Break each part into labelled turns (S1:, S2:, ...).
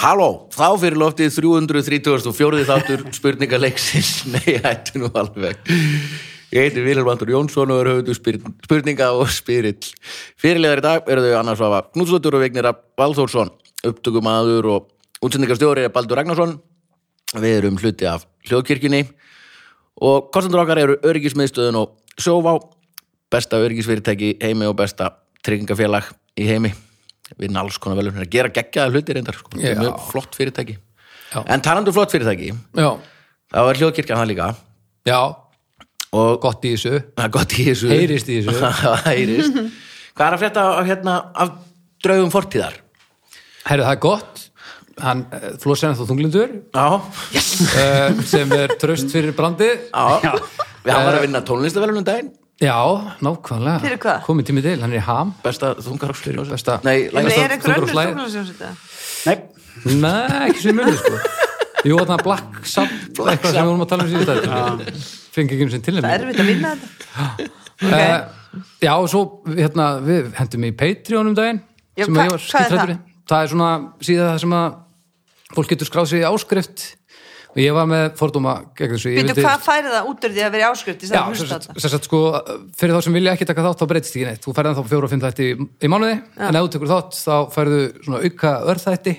S1: Halló, þá fyrir loftið 334. þáttur spurningaleiksins. Nei, hættu nú alveg. Ég heiti Vilhelm Andur Jónsson og er höfundu spurninga og spyrill. Fyrirlegar í dag eru þau annars vafa Knúsdóttur og Vignir Valþórsson, upptökumadur og útsendingarstjóri er Baldur Ragnarsson. Við erum hluti af hljóðkirkjunni og kostendur okkar eru öryggismiðstöðun og sjóvá, besta öryggisfyrirtæki í heimi og besta tryggingafélag í heimi við alls konar velum að gera geggjaða hluti reyndar sko. Þetta er
S2: Já.
S1: mjög flott fyrirtæki
S2: Já.
S1: en talandu flott fyrirtæki
S2: Já,
S1: þá er hljóðkirkjan það líka
S2: já,
S1: og
S2: gott í þessu
S1: það er gott í þessu
S2: Heyrist í þessu.
S1: Það heyrist. hvað er að frétta af, hérna, af draugum fortíðar
S2: Herru, það er gott Hann, Flósenn þó þunglindur
S1: já,
S2: uh, sem er tröst fyrir brandi
S1: já. við hann var að vinna tónlistavelunum daginn
S2: Já, nákvæmlega
S3: Fyrir hvað?
S2: Komið tími til, hann er í ham
S1: besta þungarokslur
S2: Besta-
S1: nei,
S3: En
S1: lægast
S3: er einhver
S2: Þungur og
S3: önnur
S2: slæður.
S3: stjórnarstjórnsvita?
S4: Nei,
S2: Nei, ekki sem mjög sko Jú, þarna Black Sun
S1: Black
S2: eitthvað sem við vorum að tala um síðan fengi ekki um sem tilnæmi
S3: Það er erfitt að vinna þetta.
S2: Eh, já, og svo hérna, við hendum í Patreon um daginn
S3: Já,
S2: sem
S3: hva-
S2: ég var
S3: hvað er
S2: skiltrættur við. Það er svona síðan það sem að fólk getur skráð sér í áskrift og ég var með fordóma gegn þessu Ég
S3: Býtu,
S2: vildi-
S3: hvað færi það út úr því að vera í áskrift í
S2: Já,
S3: stað að
S2: sem
S3: hlusta á
S2: sagt,
S3: þetta?
S2: sem sagt, sko, fyrir þá sem vilja ekki taka þátt þá breytist ekki neitt, þú færði þá fjóra og fimm þætti í, í mánuði, en ef þú tekur þátt þá færðu svona auka örþætti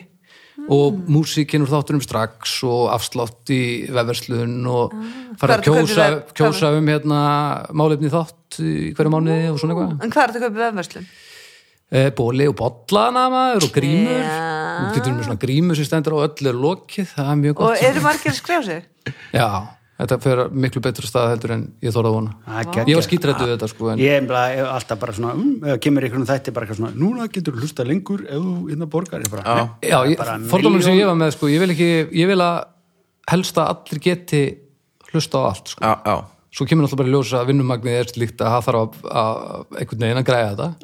S2: og
S3: Mm.
S2: músíkinn úr þáttunum strax og afslátt í vefverslun og færðu að
S3: Hvað er þetta,
S2: kjósa,
S3: hvernig vef-
S2: kjósa um hérna málefni þátt í hverju mánuði og svona eitthvað
S3: En hvað er þetta að kaupa vefverslun?
S2: e, bóli og bollana maður og grímur
S3: Já.
S2: þú getur með svona grímur sem stendur á öllu er lokið, það er mjög
S3: Og
S2: gott
S3: eru margir að skrifa sig?
S2: Já, þetta fyrir miklu betur stað heldur en ég þorði að vona
S4: það er geggjað.
S2: Ég var skítrættu við þetta sko en...
S4: Ég er bara- er alltaf bara svona, mm, ef kemur ykkur um þætti bara eitthvað svona, núna getur þú hlusta lengur ef þú innan borgar. Ég bara,
S2: Já,
S4: Það er
S2: ég-
S4: bara
S2: fordómur sem
S4: milljón-
S2: ég var með sko, ég vil ekki, ég vil að helst að allir geti hlusta á allt sko.
S1: já, já,
S2: svo kemur náttúrulega bara í ljós að vinnumagnið er líkt að það þarf að, að einhvern veginn að græja þetta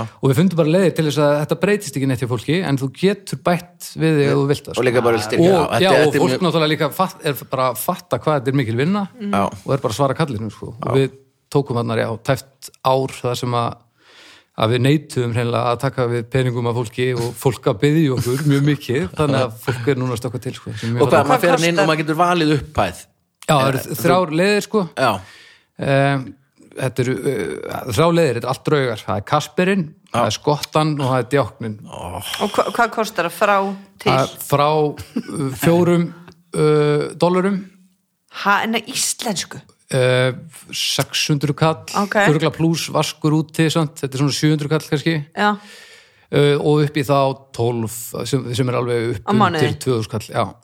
S4: Já.
S2: og við fundum bara leiðir til þess að þetta breytist ekki neitt hjá fólki en þú getur bætt við þig ef þú vilt það
S1: og
S2: sko.
S1: líka bara styrkja
S2: og, já,
S1: þetta-
S2: og
S1: þetta er
S2: fólk
S1: mjög- Mm.
S2: náttúrulega líka fatt, er bara að fatta hvað þetta er mikil vinna
S1: Já.
S2: og er bara að svara kallinu sko. og við tókum hann á tæft ár þar sem að, að við neytum hreinlega að taka við peningum af fólki og fólk að byðja okkur mjög mikið þannig að fólk er núna að stökka til sko, sem mjög
S1: og hvað, Eh,
S2: frábært.
S1: maður fer hann inn
S3: kostar-
S1: og maður getur valið upphæð
S2: já, það eru þrjár leiðir sko
S1: já,
S2: um, þetta eru uh, þrjár leiðir, þetta er allt draugar það er Kasperinn, það er Skottan og það er Djáknin
S3: Og hva, hvað kostar það frá til?
S2: Það er frá uh, fjórum uh, dólarum
S3: Ha, en að íslensku?
S2: Eh, 600 kall
S3: Ok.
S2: örgla pluss vaskur úti samt. þetta er svona 700 kall kannski
S3: Já,
S2: uh, og upp í þá 12 sem, sem er alveg upp
S3: Á mánuði. Ah.
S2: undir 2000 kall já.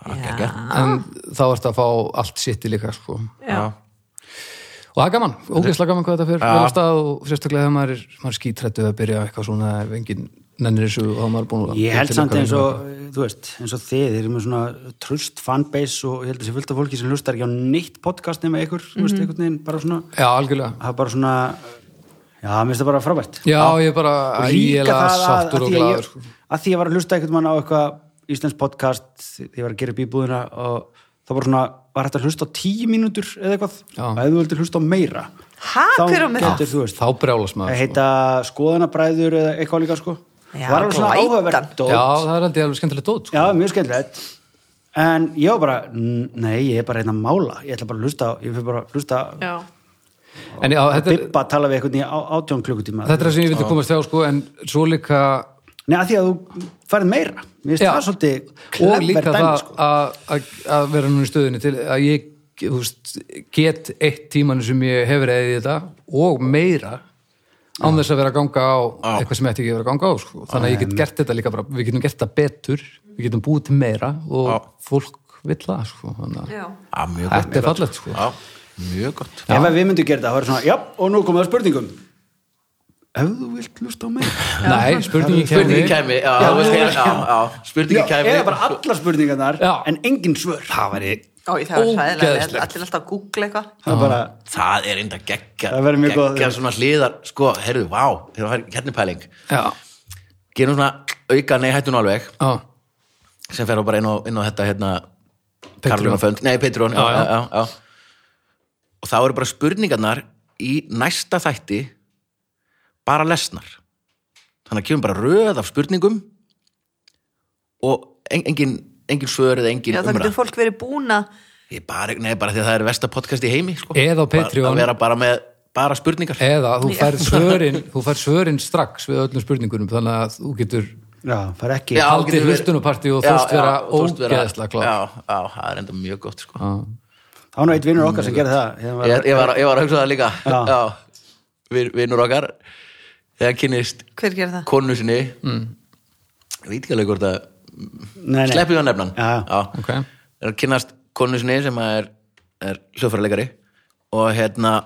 S1: geggjað.
S2: en þá ertu að fá allt sitt í líka sko. og
S3: já.
S2: það er gaman, ógeðslega gaman hvað þetta fyrir
S1: Já.
S2: vel af stað og sérstaklega þegar maður er, maður er skítrættu að byrja eitthvað svona ef enginn nennir þessu og þá er maður búin að
S4: Ég held
S2: til
S4: samt
S2: eitthvað
S4: eins og, þú veist, eins og þið, þið eru með svona tröst fanbase og ég held að þessi fullt af fólki sem hlustar ekki á neitt podcast nema ykkur, þú veist, einhvern veginn, bara svona,
S2: já, algjörlega
S4: það er bara svona, já, mér finnst það bara frábært.
S2: já, ég er bara
S4: Og
S2: ægilega sáttur og
S4: því að,
S2: glaður
S4: ég,
S2: sko.
S4: að því ég var að hlusta einhvern mann á eitthvað íslensk podcast, því ég var að gera upp íbúðina og þá bara svona, var hægt að hlusta á tíu mínútur eða eitthvað,
S2: Já.
S4: og ef þú vildir hlusta á meira,
S3: Ha,
S4: þá
S3: hver á með það?
S4: getur, þú veist,
S2: þá brjálas
S4: að
S2: maður sko.
S4: heita skoðanabræður eða eitthvað líka, sko.
S3: Já,
S4: það var alveg svona
S3: glætan.
S4: áhugaverð dót.
S2: já, það er aldrei alveg skemmtilegt dót sko.
S4: Já, mjög skemmtilegt En ég var bara, "N- nei, ég er bara einn að mála Ég ætla bara að hlusta, á- ég fyrir bara að hlusta
S3: Já.
S2: en já, þetta er,
S4: Bibba að tala við einhvern í á- átjón klukkutíma
S2: Þetta er það sem ég vildi komast hjá sko, en svo líka
S4: Nei, að því að þú færið meira Mér finnst
S2: Já.
S4: það svolítið
S2: og líka
S4: klefver dæmi
S2: það
S4: sko.
S2: að- að að vera núna í stöðunni til að ég þú veist, get eitt tímanu sem ég hefur eða í þetta og meira án þess að vera að ganga á eitthvað sem ég ætti ekki að vera að ganga á sko. þannig að ég get gert þetta líka bara, við getum gert þetta betur við getum búið til meira og fólk vill það sko. þannig
S3: Já.
S2: að
S1: Já, mjög gott.
S2: þetta er fallegt sko.
S1: Já, mjög gott
S4: Ef að við myndum gera það, þá er svona Já, og nú komum við að spurningum Ef þú vilt hlusta á meira
S2: Nei, spurningin
S1: Spurningi
S2: kemur
S1: kæmi, já, þú veist, já, já, spurningi
S4: Já,
S1: kæmi
S4: eða bara allar spurningarnar
S2: Já.
S4: en engin svör Það væri
S3: Ó, ég, það var sæðilega,
S2: Ógeðslegt.
S3: allir alltaf að googla eitthvað.
S4: Það er bara,
S1: Það er enda geggja
S4: Það verður mjög góð.
S1: Geggja svona hliðar, sko, heyrðu, vá hérna er- Hérna er pæling
S2: Já,
S1: Gerum svona auka nei hættun alveg
S2: já,
S1: sem fer á bara inn á, inn á þetta hérna
S2: Patreon.
S1: Karluna Fönd, nei, Patreon já, já. Já, já, Og þá eru bara spurningarnar í næsta þætti bara lesnar Þannig að kemur bara röð af spurningum og en, engin, engin svör eða engin
S3: Já, það
S1: umræð
S3: getur fólk verið búna
S1: ég bara, nei, bara því að það er versta podcast í heimi sko.
S2: Eða á
S1: Bara-
S2: Patreon.
S1: að vera bara með bara spurningar
S2: eða þú
S3: Já.
S2: færð svörin, þú færð svörin strax við öllum spurningunum þannig að þú getur
S4: Já, það er ekki
S1: Já,
S2: haldið
S1: getur verið-
S2: hlustunarpartí og
S1: Já,
S2: þóst
S1: já,
S2: vera
S1: og þóst vera-
S2: ógeðslega klár.
S1: já, já, það er enda mjög gott sko.
S4: Það var nú eitt vinnur okkar sem gerði það Ég
S1: ég, ég, var, ég var að hugsa það líka
S4: Já.
S1: já. Vin- vinnur okkar þegar hann kynnist
S3: Hver gerir það?
S1: konu sinni mm. ég veit ekki alveg hvort að
S4: Nei, nei.
S1: sleppið á nefnan
S4: Já, já.
S2: Ok.
S1: er að kynnast konu sinni sem að er, er hljóðfærarleikari og hérna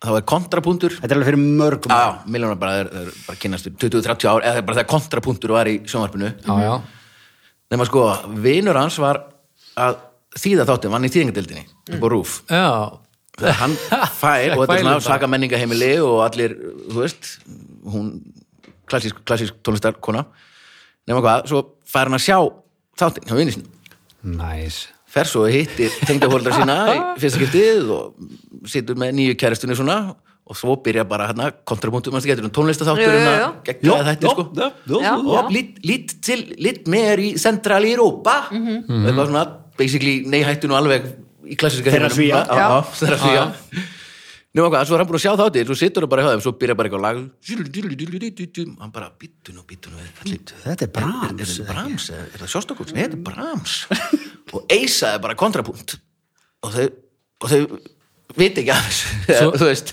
S1: þá er kontrapunktur
S4: Þetta er alveg fyrir mörgum
S1: Já, já, miljónar bara, þeir, þeir bara kynnast í 20-30 ár, eða bara þegar kontrapunktur var í sjónvarpinu
S2: já, já,
S3: Mhm.
S1: nema sko, vinur hans var að þýða þáttum, hann í þýðingadildinni
S4: Mm.
S1: upp á rúf,
S2: já
S1: þegar hann fær og þetta er svona
S2: Fælur
S1: saka menningaheimili og allir, þú veist hún, klassísk, klassísk tónlistarkona nema hvað, svo fær hann að sjá þáttin hjá vinni sinni
S2: næs
S1: fer svo og hittir tengdafóldra sína í fyrsta skiptið og situr með nýju kæristunni svona og svo byrja bara hérna kontrapunktum, mannstu getur um
S3: Jú, jú,
S1: tónlistaþátturina
S3: jú.
S1: geggjaði þetta sko
S3: Já,
S1: og lít, lít til, lít meir í Central Europa
S3: Mhm.
S1: þetta var svona basically neihættu nú alveg í klassiska
S4: Þeirra
S1: heiminum. Já,
S4: Svía.
S3: Já.
S1: já, þeirra svíja nema hvað, svo er hann búin að sjá þáttið svo situr það bara hjá þeim, svo byrja bara eitthvað lag hann bara, býttu nú, býttu nú allir
S4: Þetta er
S1: Ah, er
S4: brams
S1: þetta Brahms, eða er það Sjóstakóts? Nei, þetta er Brahms og Eisa er bara kontrapunkt og þau, og þau viti ekki af þessu
S2: Svo-
S1: þú veist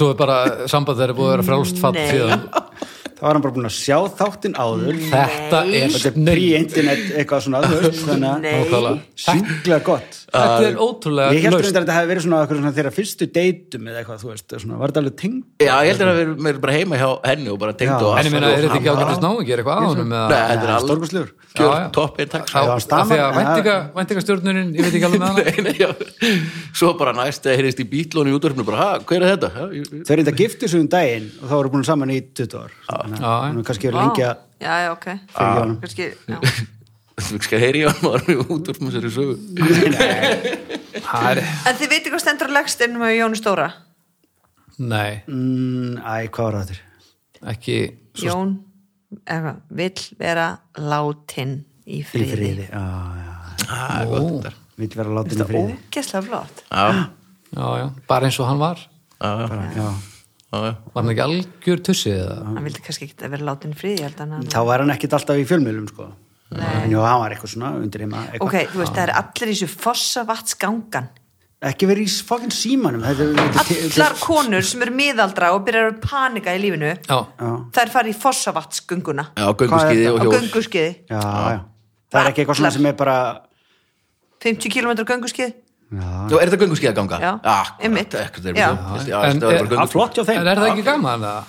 S2: svo er bara samband þeirra búið að vera frálst fatt
S3: Nei.
S2: síðan
S4: Það var hann bara búin að sjá þáttinn áður
S2: þetta er
S4: Þetta er
S2: snill
S4: pre-internet eitthvað svona þú veist, Þannig
S3: Nei.
S4: að
S2: Nákvæmlega.
S4: sjúklega gott
S2: þetta er ótrúlega
S4: Ég held
S2: laust.
S4: reyndar að þetta hefði verið svona, einhver svona þeirra fyrstu deytum eða eitthvað, þú veist, svona, var þetta alveg tengd
S1: Já, ég heldur að við erum- við erum bara heima hjá henni og bara tengd
S4: Já.
S1: og
S2: en ég meina, er þetta ekki ágættist náungi, er eitthvað á honum
S1: Nei,
S2: eða
S1: þetta er
S4: Nei,
S1: alveg
S4: stórkostlegur.
S1: kjör
S2: Já, já.
S1: toppin, takk
S2: Á-
S4: Já,
S2: af
S4: stamar-
S2: því að væntinga- væntingastjórnunin, ég veit ekki alveg með hana
S1: Nei, nei, já. Svo bara næst að heyrist í bítlónu í útvarfinu bara, ha, hver er þetta? Ha, ég- ég-
S4: Þau reynda giftu sig um daginn og þá voru búin saman í 20 ár Þannig
S2: Já,
S4: að
S2: já.
S4: hún er kannski verið lengi að
S3: Já, já, ok
S4: fylgja honum
S3: Kannski, já
S1: Þú skal heyri á hann og hann í útvarfinu sér í sögu
S2: Það er-
S3: En þið veitir hvað stendur að leggst inn með Jónu Stóra?
S2: nei,
S4: Mm, Æ, hvað var það þér?
S2: ekki
S3: Jón eða, vill vera látin í
S4: Í
S3: friði.
S4: friði, já, já
S1: Það er Ah, gott þetta
S4: Vill vera látin í
S3: Það er
S4: friði
S3: ógeðslega flott.
S1: Já,
S2: já, já, bara eins og hann var
S1: já, já,
S4: bara, já.
S1: já
S2: var hann ekki algjör tussið eða
S3: Hann vildi kannski ekki vera látin í friði, ég held að hann.
S4: Þá var hann ekkit alltaf í fjölmiðlum, sko En já, hann var eitthvað svona undir heima eitthvað.
S3: Ok, þú veist, það er allir í þessu fossavatnsgangan.
S4: Ekki verið í fucking símanum þetta, er- þetta, er- þetta,
S3: Allar konur sem eru miðaldra og byrjar að panika í lífinu,
S2: já,
S4: Já,
S3: þær fara í fossavatnsgönguna
S1: Já, gönguskiði
S4: þetta?
S1: og
S3: á
S1: hjól
S3: gönguskiði.
S4: já, já Það er ekki eitthvað svona sem er bara
S3: 50 km gönguskiði.
S4: Já,
S1: Já, er þetta gönguskíðaganga?
S3: Já, einmitt. Já.
S2: En er-
S1: Já,
S4: að ah, flott
S2: en
S4: hjá þeim
S2: er það ekki gaman eða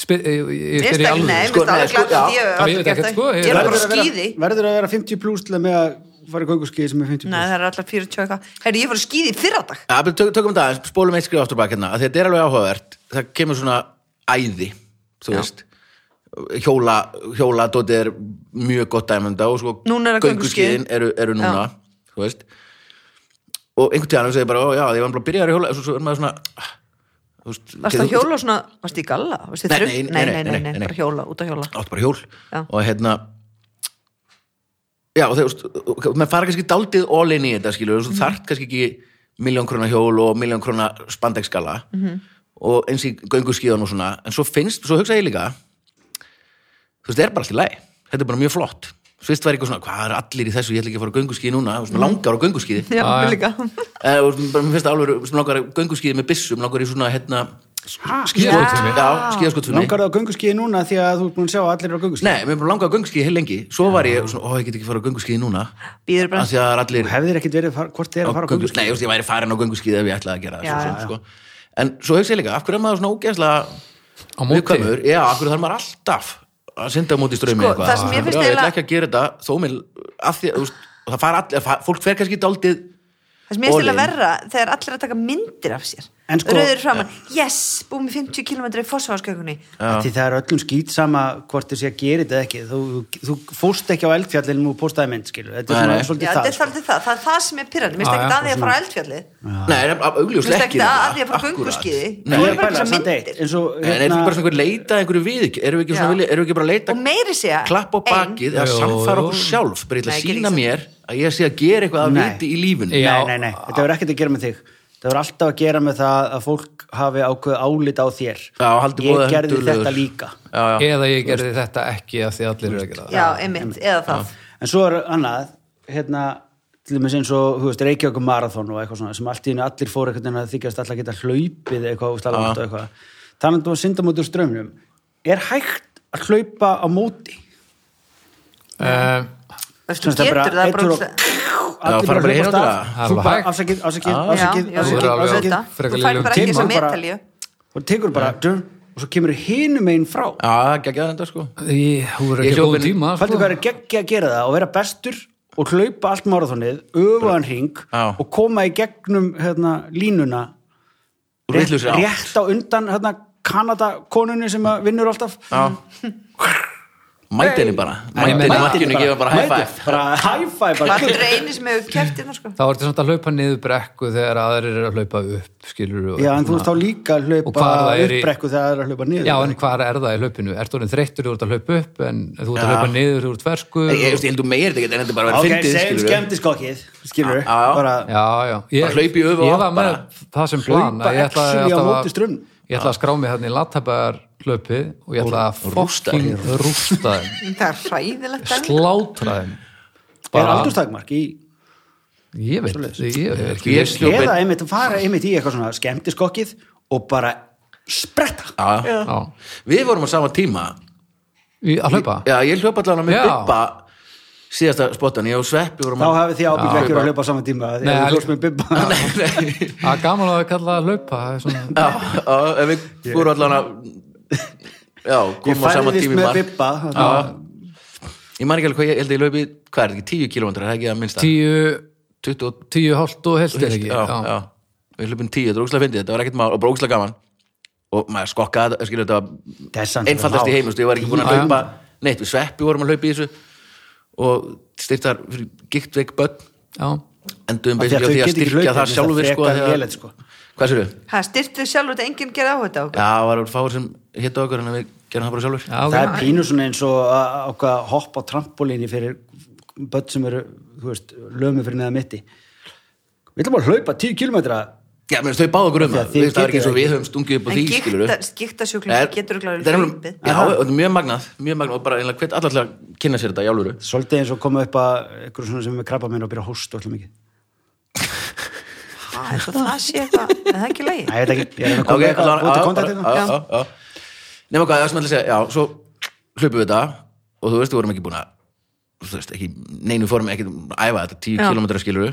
S2: Spyr- ég- ég
S3: Ég
S2: spyr í
S3: stakk, nei,
S2: alveg
S1: sko,
S3: sko,
S1: nei,
S3: nei,
S1: sko,
S3: sko,
S1: já.
S2: Já, ég veit ekkert, sko, ég-
S3: ég er bara á
S4: Verður að vera-
S3: skýði
S4: Verður að vera 50 pluss til að með að fara í gönguskið sem er 50
S3: Nei,
S4: pluss
S3: það er allar 40 og eitthvað Herri, ég var á skýði fyrra dag
S1: Já, við tök, tökum það, spólum eitt skrif aftur bak hérna að þetta er alveg áhugavert, það kemur svona æði, þú veist hjóla, hjóla dótið er mjög gott dæmenda og sko
S3: Núna eru
S1: gönguskíðin
S3: gönguskíðin.
S1: eru, eru núna, þú veist og einhvern tíðan segir bara, ó já, ég var bara að byrja að hjóla, svo, svo er maður svona ah, þú veist,
S3: Varst
S1: getur-
S3: það hjóla og svona, varst það í galla? Varst það
S1: Nei,
S3: þrugg?
S1: nei, nei,
S3: Nei,
S1: nei,
S3: nei,
S1: nei,
S3: nei,
S1: nei.
S3: bara hjóla, út að hjóla
S1: áttu bara hjól
S3: Já.
S1: og hérna já, og þegar, þú veist, menn fara kannski daldið all in í þetta, skilur, þú mm. þarft kannski ekki miljón krona hjól og miljón krona spandekskala og eins í göngu skíðan og svona, en svo finnst svo hugsa ég líka þú veist, það er bara allt í lagi, þetta er bara mjög flott Svist var eitthvað svona, hvað er allir í þessu, ég ætla ekki að fara á gönguskíði núna, þú veist, mm. langar á gönguskíði
S2: Já,
S3: Já,
S2: já.
S3: mér líka
S1: Eh, og bara mér finnst það alveg, sem langar á gönguskíði með byssum, langar í svona, hérna,
S2: skýrskotfimi.
S1: já, skíðaskotunni
S4: Langar það á gönguskiði núna því að þú er búin að sjá að allir eru á gönguskiði?
S1: Nei, mér er búin að langa á gönguskiði heil lengi Svo var ég svona, ó, ég get ekki fara á gönguskiði núna
S3: Býður bara.
S1: Af Því að það er allir
S4: Hefði þér ekkit verið, far- hvort þið er að fara á
S1: gönguskiði Nei,
S4: gönguskiði?
S1: þú veist, ég væri farin á gönguskiði ef ég ætlaði að gera
S3: Já,
S1: það svo, svo, sko. En svo hugsa ég líka, af hverju er maður svona
S2: Á
S1: ógeðslega
S2: móti.
S1: viðkvæmur? Já, af hverju þarf maður alltaf að synda á móti strömi
S3: Sko, það sem ég finnst
S1: Ég ætla
S3: eiginlega-
S1: ekki að gera þetta, þó mér af því, að, þú veist, og það fara allir, fa- fólk fer kannski dálítið
S3: Það sem ég
S1: All in.
S3: stila verra þegar allir að taka myndir af sér
S4: En sko-
S3: rauður framann, yes, búið með 50 km í fósfarskökunni
S4: því það er öllum skýt sama hvort þið sé að gera þetta eða ekki þú, þú fóst ekki á eldfjallinu og postaði mynd skilur, þetta
S1: Nei, nei.
S4: er svona
S3: Já,
S4: svolítið
S3: þetta er
S4: það sko.
S1: sko.
S3: svolítið það, það er það sem er pyrrandi Mér
S1: Ah,
S2: Já,
S3: finnst
S2: já,
S3: ekki að því að fara á
S1: Mm.
S3: eldfjallið Mér
S1: Nei, en augljóslega
S3: finnst
S1: ekki
S3: ekki að
S1: það,
S3: því að fara á
S1: akkúrat.
S3: gunguskiði
S1: Nei.
S3: Það er
S4: Ég
S3: bara
S4: pæla
S3: eitthvað
S4: samt eitt,
S3: myndir
S4: eins og hérna-
S1: En er þetta bara svona einhver leita að einhverju við erum við ekki, svona
S3: Já.
S1: vilja, erum við ekki bara að leita
S3: Og meiri sé að
S1: klapp á bakið eða
S2: Jú,
S1: samfara
S2: jú.
S1: okkur sjálf bara eitthvað
S3: Nei,
S1: að
S3: ekki
S1: sína
S3: líka.
S1: mér að ég sé að gera eitthvað að
S4: Nei.
S1: viti í lífinu
S2: Já.
S4: nei, nei, nei, þetta verður ekkert að gera með þig þetta verður alltaf að gera með það að fólk hafi ákveð álit á þér
S1: Já, haldi
S4: ég
S1: voða
S4: gerði
S1: hendulegur.
S4: þetta líka
S1: Já, já.
S2: eða ég gerði þetta ekki af því allir eru að gera það
S3: Já, einmitt, eða það
S4: en svo er annað hérna, til dæmis eins og, þú veist, Reykjavík marathon og eitthvað svona, sem allt í henni allir fóru einhvern veginn að þykjast alltaf að geta hlaupið eitthvað og slala og eitthvað þannig að þú synda móti úr strömmnum er hægt að hlaupa á móti
S2: Eh,
S3: Þú veist,
S4: Sem
S3: þú
S4: sagt, það er
S3: getur
S4: bara
S3: það
S4: eitur
S3: bara
S4: og-
S3: ógeðslega-
S1: Já,
S4: allir
S1: fara
S4: bara
S1: bara í
S4: hlaupa á
S1: hinadraga.
S4: stað
S2: Það er
S4: Þú
S2: alveg
S4: bara,
S2: hægt.
S4: afsakið, afsakið,
S1: Já.
S3: Já,
S4: afsakið,
S3: já,
S2: þú
S4: afsakið,
S2: verður alveg-
S4: afsakið
S3: auðvitað.
S2: frekar
S3: Þú færð
S2: lélegur
S3: bara ekki
S2: tíma.
S3: þessa
S4: Bara-
S3: metalíu
S4: og tekur bara, dun, og svo kemur hinum einn frá
S1: Já, það er geggjað þetta sko
S2: Ég, hún verður
S1: Ég
S2: ekki
S1: hljóp
S2: góð
S1: inn-
S2: tíma sko.
S4: Fældu hvað er geggja að gera það og vera bestur og hlaupa allt marathonið, öfaðan hring
S1: Já.
S4: og koma í gegnum hérna, línuna
S1: Úr vitlausri átt.
S4: rétt á undan hérna, Kanadakonunni sem að vinnur alltaf
S1: Mæti henni bara, mæti
S2: Mæti
S1: henni
S2: henni
S1: markinu gefa bara high five
S4: bara high five bara,
S3: Það er eini sem hefur kæft hérna sko
S2: Þá ertu samt að hlaupa niður brekku þegar aðrir eru að hlaupa upp skilur
S4: Já, en þú veist þá líka að
S2: Og
S4: hlaupa
S2: hvar það er í-
S4: uppbrekku þegar það er að hlaupa niður
S2: Já, en hvað er það í hlaupinu? Ertu orðin þreyttur, þú ert að hlaupa upp en þú ert að
S1: Já.
S2: hlaupa niður, þú ert fersku
S1: Ég ég- ég held þú meir þetta ekki en þetta er bara að
S4: Ok,
S1: vera
S4: segjum
S1: fyndið skilur
S4: skemmtiskokkið skilur,
S1: Já, já.
S4: bara
S2: Já, já
S1: Bara hlaupa í öfu og
S2: Ég
S1: átt
S2: var með
S1: bara.
S2: það sem plan
S4: hlaupa
S2: að ég ætlaði
S4: actually á
S2: alltaf
S4: móti strömm
S2: Ég ætla að skrá mig hérna í latabæðar hlaupi og ég ætla að
S1: rústa
S2: fokking rústa þeim
S3: Það er hræðilegt dæmi.
S2: slátra þeim
S4: Er
S2: Bara-
S4: aldurstakmark í
S2: Ég veit, ég er ekki
S1: Ég
S2: viss.
S1: hljóp
S4: eða
S1: einn-
S4: einmitt fara einmitt í eitthvað svona skemmtiskokkið og bara spretta
S1: Já, já.
S2: Já.
S1: Við vorum á sama tíma
S2: Í- Að hlaupa?
S1: Já, ég hljópa allavega með
S2: Já.
S1: Bibba síðasta spottan, ég og Sveppi vorum
S4: þá
S1: að-
S4: hafið því ábygglega ekki verið að hlaupa á saman tíma
S2: Nei,
S4: þegar
S2: það
S4: þú hljóst með bibba
S1: Nei,
S2: Það er gaman að það kalla að hlaupa það er svona...
S1: Já, já, en við vorum allavega Já,
S4: ég
S1: komum á sama
S4: færðist
S1: tíma í
S4: með
S1: mark
S4: bibba
S1: Já. Ég man ekki alveg hvað ég ég held að ég laupi hvað er þetta ekki, 10 km, það er ekki að minnsta
S2: Tíu,
S1: 20 og
S2: tíu hálft og helst er
S1: Heilt,
S2: ekki
S1: já, já. Við hlupum 10, þetta er ógslag fyndið, þetta var ekkert mál og brókslega gaman og maður skokkaði, þetta, skilur þetta
S4: Það er
S1: var
S4: samt
S1: einfaldast í
S4: mál.
S1: heimust, ég var ekki búin að
S2: Já, já.
S1: hlaupa neitt, við sveppi vorum að hlaupa í þessu og styrtar fyrir giktveik börn
S2: já.
S1: enduðum
S4: Af því
S1: beinslega því
S4: að þau
S1: að
S4: geta ekki
S1: styrkja
S4: hlaupið,
S1: það
S4: mér
S1: sjálfur
S4: finnst það
S1: sko,
S4: frekar
S1: þegar-
S4: lélegt, sko.
S1: Hvað sérðu?
S3: Það styrtir sjálfur þetta enginn gerði áhuga á
S1: Já,
S3: þetta
S1: það var fáir sem hétt á okkur en við gerum það bara sjálfur
S2: Já,
S4: það er
S2: ok.
S4: pínu svona eins og að ákvað að hoppa á trampolíni fyrir börn sem eru þú veist, lömu fyrir neða mitti við ætlum bara að hlaupa 10 km
S1: Já, menn þau báðu okkur um
S4: Því að
S1: það, Þú
S4: þið
S1: veist, það er ekki
S4: getið
S1: eins og
S4: það
S1: við höfum stungið upp á
S3: En
S1: því skilur við
S3: gíktasjúklingur getur örugglega
S1: Það er nefnilega-
S3: hlaupið.
S1: Já, og þetta er mjög magnað, mjög magnað og bara einlega hvert allar til að kynna sér þetta í áluru
S4: svolítið eins og koma upp að einhverjum svona sem er með krabba minn og byrja að hósta og alltaf mikið
S3: Ha, eins og það sé eitthvað, en það er ekki lægi
S4: Nei, ég veit ekki, ég er að koma
S1: ok,
S4: með eitthvað
S1: allavega,
S4: að búta
S1: já,
S4: kontakt hérna?
S1: bara- já,
S4: eitthvað.
S1: já, já. nema hvað, það sem ég ætla að segja já, svo hlupum við þetta og þú veist, við vorum ekki búin að þú veist, ekki, neinu formi, ekki æfa þetta tíu
S3: Já.
S1: kilometra skiluru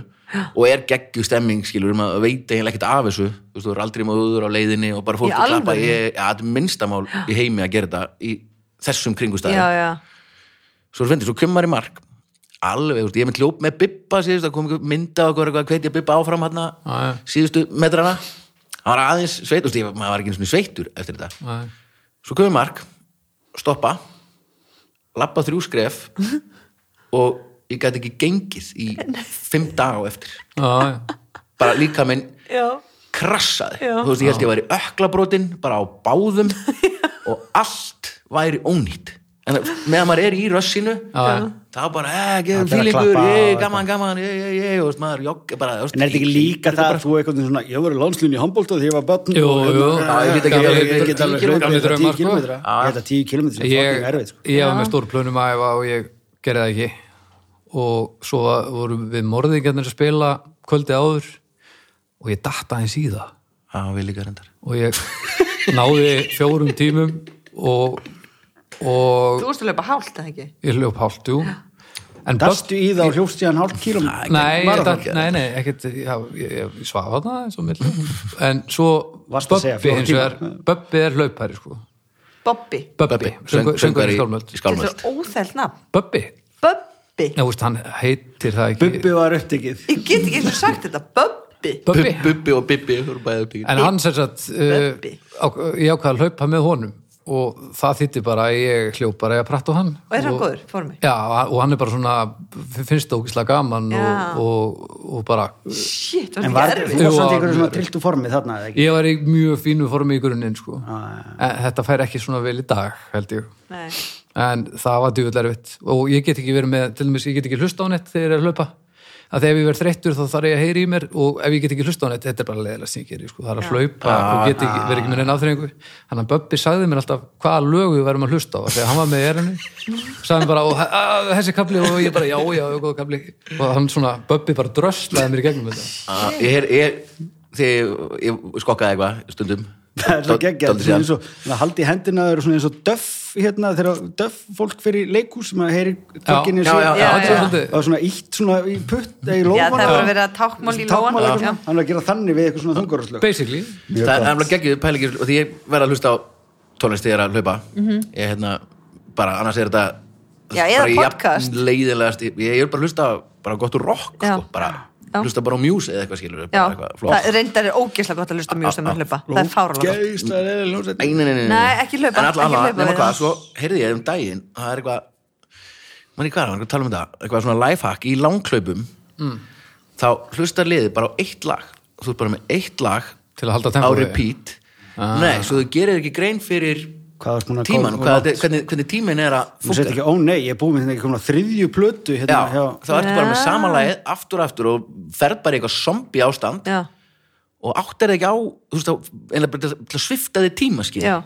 S1: og er geggju stemming skiluru, maður veit eiginlega ekkert af þessu þú veist, þú er aldrei móður á leiðinni og bara fólk
S3: Í
S1: að klappa,
S3: alvöru?
S1: ég, ja, þetta er minnstamál í heimi að gera þetta í þessum kringustæði
S3: Já, já,
S1: svo er fyndið, svo kemur maður í mark alveg, þú veist, ég mynd hljóp með Bibba síðust, það kom einhver mynd á okkur eitthvað hvetja Bibba áfram hann
S2: Já, já.
S1: síðustu metrana hann var aðeins sveit, þú veist, ég, maður var ekki einu sinni sveittur eftir þetta,
S2: Nei.
S1: svo kemur í mark stoppa lappa þrjú skref og ég gæti ekki gengið í fimm daga á eftir
S2: Já, já.
S1: bara líka minn
S3: já
S1: krassaði,
S3: Já.
S1: þú veist, ég held ég væri öklabrotin, bara á báðum og allt væri ónýtt en meðan maður er í rössinu
S2: Já.
S1: þá bara, eh, gefum
S4: Allir að
S1: fílingur
S4: klappa
S1: eh,
S4: og
S1: gaman, gaman, eh, eh, eh, og veist, maður jogg bara, þú veist,
S4: en er þetta ekki líka það að þú eitthvað svona ég var í landslunni í handbólta þegar ég var börn
S2: Jú,
S4: og-
S2: jú.
S4: Já, ég get ekki
S1: Gamli-
S4: alveg- ég get alveg
S1: gamli
S4: hlaupið þetta
S2: draumar,
S4: 10
S2: sko.
S4: km ég held að 10 km er
S2: Ég,
S4: fucking erfið sko.
S2: ég var með stór plönum að æfa og ég gerði það ekki og svo var- vorum við morðingarnir að spila kvöldi áður og ég datta aðeins í það
S1: já, við líka reyndar
S2: og ég náði fjórum tímum og, og
S3: Þú vorst að löpa hált, það ekki?
S2: ég hljóp hálft, jú en
S4: Dastu í það og hljófst síðan hálf kílum
S2: Nei, ég,
S1: Marathon
S2: datt-
S1: gerði.
S2: nei, nei, ekkert já, ég, ég svaf þarna eins og milli en svo
S4: Varstu að segja
S2: Böbbi
S4: fjóra
S2: hins
S4: tíma?
S2: vegar Böbbi er hlaupari sko
S3: Bobby
S2: Böbbi, söngu- söngvari í skálmöld
S1: í
S3: Þetta
S1: skálmöld
S3: er óþælt nafn
S2: Böbbi,
S3: Bubbi
S2: já, veist, hann heitir það ekki
S4: Bubbi var upptekið
S3: Ég get ekki eins og sagt þetta Bubbi Bubbi
S2: Bubbi
S1: Bubbi og Bibbi voru bæði uppíkin
S2: en hann sem sagt uh,
S3: Bubbi.
S2: á- ég ákvað að hlaupa með honum og það þýtti bara að ég hljóp bara að pratta á hann
S3: Og er hann góður, formi?
S2: Já, og hann er bara svona, finnst það ógislega gaman
S3: Já.
S2: og, og, og bara,
S3: Shit,
S4: En
S3: var
S4: var,
S3: þetta
S4: þú
S3: ekki erfið?
S4: var samt
S2: Jú,
S4: í einhverju svona trilltu formi þarna, eða ekki?
S2: ég var í mjög fínu formi í grunninn, sko.
S4: já,
S2: En þetta fær ekki svona vel í dag, held ég.
S3: Nei,
S2: En það var djúvill erfitt. Og ég get ekki verið með, til dæmis, ég get ekki hlusta á nett þegar ég er að hlaupa. Að þegar ég verð þreyttur þá þarf ég að heyra í mér og ef ég get ekki hlusta á nett, þetta er bara leðilega sem ég gerir, sko. Það er að hlaupa og get ekki, verið ekki með neina afþreyingu. Þannig að Böbbi sagði mér alltaf hvaða lögu við verðum að hlusta á. Þegar hann var með erinu, sagði mér bara, og, að, þessi kapli og ég bara, já, já, góða kapli. Og hann svona, Böbbi bara dröslaði mér í gegnum þetta.
S1: Ah, ég, er- ég, þegar ég skokkaði eitthvað stundum
S4: Það er svo geggja,
S1: Dálítið
S4: það
S1: síðan.
S4: er svo, það haldi í hendina það eru svona eins og döff hérna, þegar döff fólk fyrir leikhús sem að heyri tökkinni
S1: Já, já,
S3: já, já.
S4: og svona ítt svona í putt eða í
S3: já,
S4: lófana
S3: það var að vera tákmál í
S4: tákmál eitthvað
S3: lóan
S4: svona, hann er að gera þannig við eitthvað svona þungarúslög
S2: Basically,
S1: það er alveg geggjuð pælingir og því ég verð að hlusta á tónlist þegar að hlaupa ég hérna, bara annars er þetta
S3: Mhm. Já, eða
S1: bara jafn
S3: podcast.
S1: leiðilegast, ég, ég er bara að hlusta á bara gott og rock,
S3: Já.
S1: sko, bara
S3: Já.
S1: hlusta bara á mjús eða eitthvað skilur
S3: Já,
S1: bara eitthvað flott.
S3: það reyndar er ógeðslega gott að lusta mjög sem að hlaupa Það er fáralega gott
S4: Geisla, leiðileg hljómsveit.
S1: Nei, nei, nei, nei,
S3: Nei, ekki hlaupa,
S1: En alla,
S3: ekki
S1: alla,
S3: hlaupa
S1: nema
S3: við
S1: hvað,
S3: það.
S1: svo heyrði ég um daginn að Það er eitthvað Man í hvað, hann tala um þetta Eitthvað svona lifehack í langklaupum
S2: Mm.
S1: Þá hlustar liðið bara á eitt lag Þú ert bara með eitt lag
S2: Til að halda
S1: Á
S2: tempói. Ah.
S1: repeat Nei, svo þú gerir ekki grein fyrir
S4: Hvað þú ert búin að
S1: tíman
S4: koma-
S1: hvað, hvernig, hvernig tímin er að
S4: Þú sett
S1: funka
S4: ekki, ó nei, ég er búin með þetta ekki komin að þriðju plötu
S1: Já,
S4: hérna hjá
S1: þá ertu bara með samanlagið aftur og aftur og ferð bara í eitthvað zombi ástand
S3: Já,
S1: og áttar ekki á, þú veist, þá, einlega bara til til að svifta þið tíma, skil
S3: já,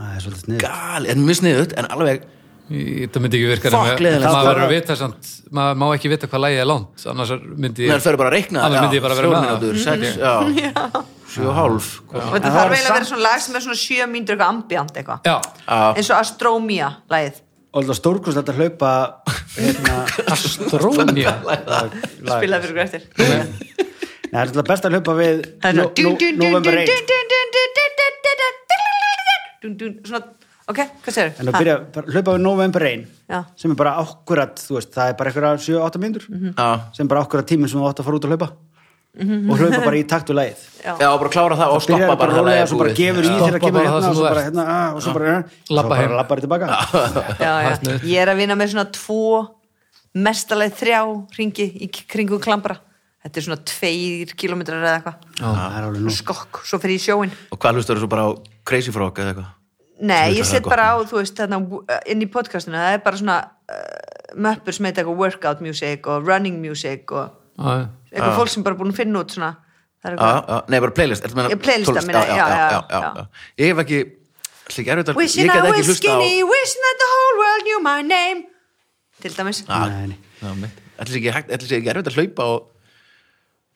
S4: Það er svolítið snið
S1: Gali, en mjög sniðut, en alveg
S2: Í- Það myndi ekki virka nema-
S1: Fuck, leiðinlegt.
S2: maður verður að vita samt maður má ekki vita hvað lægi er langt annars er- myndi
S1: Þannig að það fyrir bara að reikna
S2: Annars myndi ég bara vera með það.
S1: mínútur, sex, já, sjö og hálf sko.
S3: og Mhm. þetta
S4: En það
S3: þarf
S4: var
S3: eiginlega að vera
S4: samt-
S3: svona lag sem er svona sjö mínútur eitthvað ambjant eitthvað
S2: Já,
S1: Já,
S3: eins og Astromia lagið
S4: Og alltaf stórkust að hlaupa hérna,
S2: Astrónia
S4: lag.
S3: spilaði fyrir ykkur eftir
S4: Nei, það er alltaf best að hlaupa við
S3: það er
S4: no- no- November 1
S3: svona svona, ok, hvað segir
S4: En að byrja, bara hlaupa við November 1
S3: Já.
S4: sem er bara akkurat, þú veist, það er bara einhverja 7-8 mínútur
S3: Mhm.
S1: já,
S4: sem er bara akkurat tíminn sem þú átt að fara út að hlaupa og hlaupa bara í takt við lagið
S1: já, og bara klára það og stoppa
S4: Byrjar
S1: bara
S4: rólega,
S1: það lagið
S4: svo bara
S1: búið.
S4: gefur í
S2: Já.
S4: þegar
S2: Stoppa
S4: kemur
S2: bara
S4: hérna
S2: það
S4: og
S2: sem
S4: svo
S2: þú
S4: bara
S2: ert.
S4: hérna ah, og svo bara hérna, svo
S2: Labba
S4: bara
S2: heim.
S4: labbar þér tilbaka
S3: já,
S2: Það
S3: já.
S2: er sniðugt.
S3: ég er að vinna með svona tvo mestalegi þrjá ringi í kringu klambra þetta er svona tveir kilometrar eða eitthvað
S4: Það er alveg nú
S3: skokk, svo fer ég í sjóin
S1: Og hvað hlustar þú svo bara á Crazy Frog eða eitthvað?
S3: nei,
S1: Það
S3: ég
S1: er
S3: set
S1: gott.
S3: bara á, þú veist, þarna eh, inn í podcastinu, það er bara svona uh, möppur sem heit eitthvað workout music og running music og
S2: Já,
S3: eitthvað fólk sem bara búin að finna út svona það er
S1: Já,
S3: eitthvað
S1: já, nei, bara playlist, ertu meina
S3: Ég playlista
S1: tónlist,
S3: meina, já, já, já.
S1: Ég hef ekki, slik erfitt að, ég
S3: Wishing I
S1: get ekki
S3: was
S1: hlusta á
S3: skinny, wishing that the whole world knew my name Til dæmis
S1: Ah.
S4: Nei, nei.
S1: Ætlis ekki hægt- ætli sé ekki erfitt að hlaupa og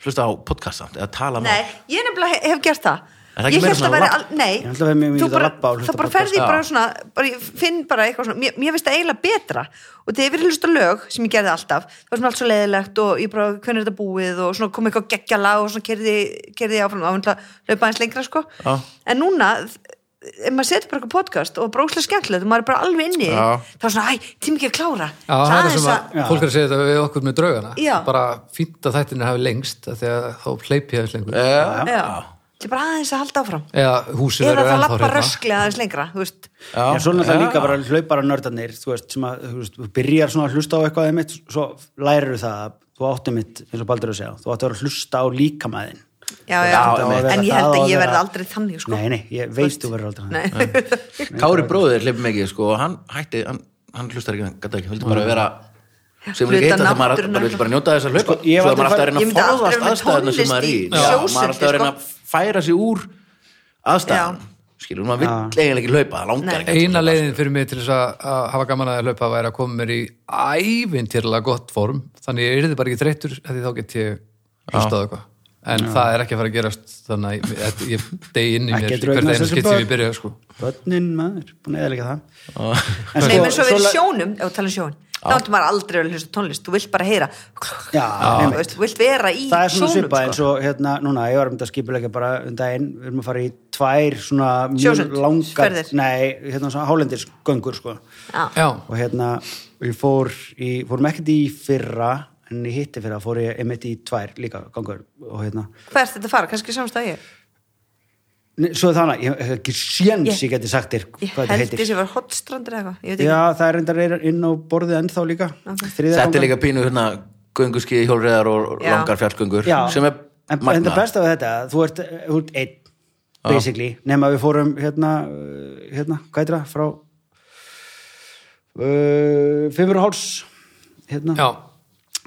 S1: hlusta á podcast samt eða tala
S3: Nei,
S1: með
S3: ég nefnilega hef gert það
S1: Er það ekki
S3: Ég
S1: meira
S3: held
S1: svona
S3: að vera
S1: labb?
S3: al- Nei,
S4: Ég held að vera mjög mikið
S3: þú
S4: að
S3: bara,
S4: labba og hlusta
S3: það bara
S4: podcast.
S3: ferði ég bara
S1: Já.
S3: svona bara, ég finn bara eitthvað svona, mér, mér finnst það eiginlega betra og þegar ég verið hlusta á lög sem ég gerði alltaf það var svona allt svo leiðilegt og ég bara hvernig er þetta búið og svona kom eitthvað geggja lag og svona kerði, kerði ég áfram og löpa aðeins lengra sko
S1: Já.
S3: en núna ef maður setur bara eitthvað podcast og brókslega skemmtilegt og maður er bara alveg inni
S1: Já.
S3: þá er svona, æ, tími ekki að klára
S2: það er það sem
S3: að,
S2: að
S4: Já.
S2: fólk er að segja þetta við okkur með draugana
S3: Já.
S2: bara fínt að þættinir hafi lengst af því að þá hleypi ég aðeins lengur
S1: Já,
S3: já, ég er bara aðeins að halda áfram
S2: eða húsið
S3: eða
S2: verður
S3: það
S2: ennþá
S3: lappa
S2: hérna
S3: rösklega aðeins lengra þú veist
S1: já,
S4: Já, svo náttúrulega
S1: já.
S4: líka bara hlaupara nördarnir þú veist, sem að, þú veist, þú byrjar svona að hlusta á eitthvað einmitt, svo lærir það að þú áttu mitt, eins og Baldur er að segja þú áttu að vera að hlusta á líkamæðin
S3: já, já,
S1: Já,
S4: einmitt.
S3: en ég held
S4: Það á
S3: að
S4: að
S3: ég
S4: vera-
S3: verði aldrei þannig sko.
S4: Nei, nei, ég veit þú verður aldrei þannig.
S1: Kári bróðir hleypum ekki, sko, og hann hætti, hann, hann hlustar ekki, hann gæti ekki, vildi bara vera sem
S3: hluta
S1: líka hitt að maður
S3: náttúruna.
S1: bara vildi bara njóta þess að hlaupa
S4: Sko, ég hef
S1: svo er maður alltaf að
S4: aldrei farið-
S1: reyna
S3: Ég
S1: að
S3: myndi aldrei
S1: forðast
S3: vera með
S1: aðstæðuna sem
S3: tónlist
S1: maður er í
S3: í
S1: Já, maður er
S3: sjósundi,
S1: alltaf að reyna
S3: sko.
S1: að færa sig úr aðstæðan skilur, maður vill eiginlega ekki hlaupa, það langar ekki sko.
S2: eina leiðin fyrir mig til þess að, að hafa gaman að hlaupa væri að koma mér í ævintýrlega gott form þannig ég yrði bara ekki þreyttur af því þá get ég hlustað á eitthvað en það er ekki að fara að gerast þannig að ég- ég degi inn í mér
S4: Ekki
S2: hvert
S4: draugnast
S2: einu
S4: þessu
S2: skitt
S4: bara.
S2: sem ég byrja sko.
S4: Börnin maður, búin að eða líka það
S1: Já.
S4: En sko,
S3: Nei, menn svo verið
S4: la-
S3: sjónum, ef við tala um sjón þá áttu maður aldrei að hlusta tónlist, þú vilt bara heyra
S4: Já,
S3: þú
S4: einmitt.
S3: veist, þú vilt vera í
S4: það er svona
S3: sjónum
S4: svipað eins
S3: sko.
S4: og hérna, núna, ég var um þetta skipulegja bara um daginn, við erum að fara í tvær svona
S3: Sjósund,
S4: langar,
S3: ferðir.
S4: nei, hérna svona hálendisgöngur sko,
S3: Já.
S2: já,
S4: og hérna og ég fór, í, fórum ekkert í fyrra en en ég hitti fyrir að fór ég einmitt í tvær líka gangur og hérna
S3: Hvað ert þetta að fara? Kannski samstæði ég?
S4: Nei, svo er þannig, ég hef ekki sjens
S3: Ég-
S4: ég, geti sagt þér
S3: Ég
S4: hvað þetta
S3: held
S4: heitir
S3: þessi var hotstrandur eða eitthvað, ég veit ekki.
S4: Já, það er reyndar inn á borðið ennþá líka Þriðja
S1: Þetta er
S4: gangan.
S1: líka pínu hérna gönguskið hjólreðar og
S3: Já.
S1: langar fjallgöngur
S4: Já,
S1: sem er
S4: en, en það
S1: magna
S4: besta við þetta, þú ert, þú ert einn, basically, nema við fórum hérna, uh, hérna, hvað er það, frá uh, fimmur og háls hérna,
S2: já,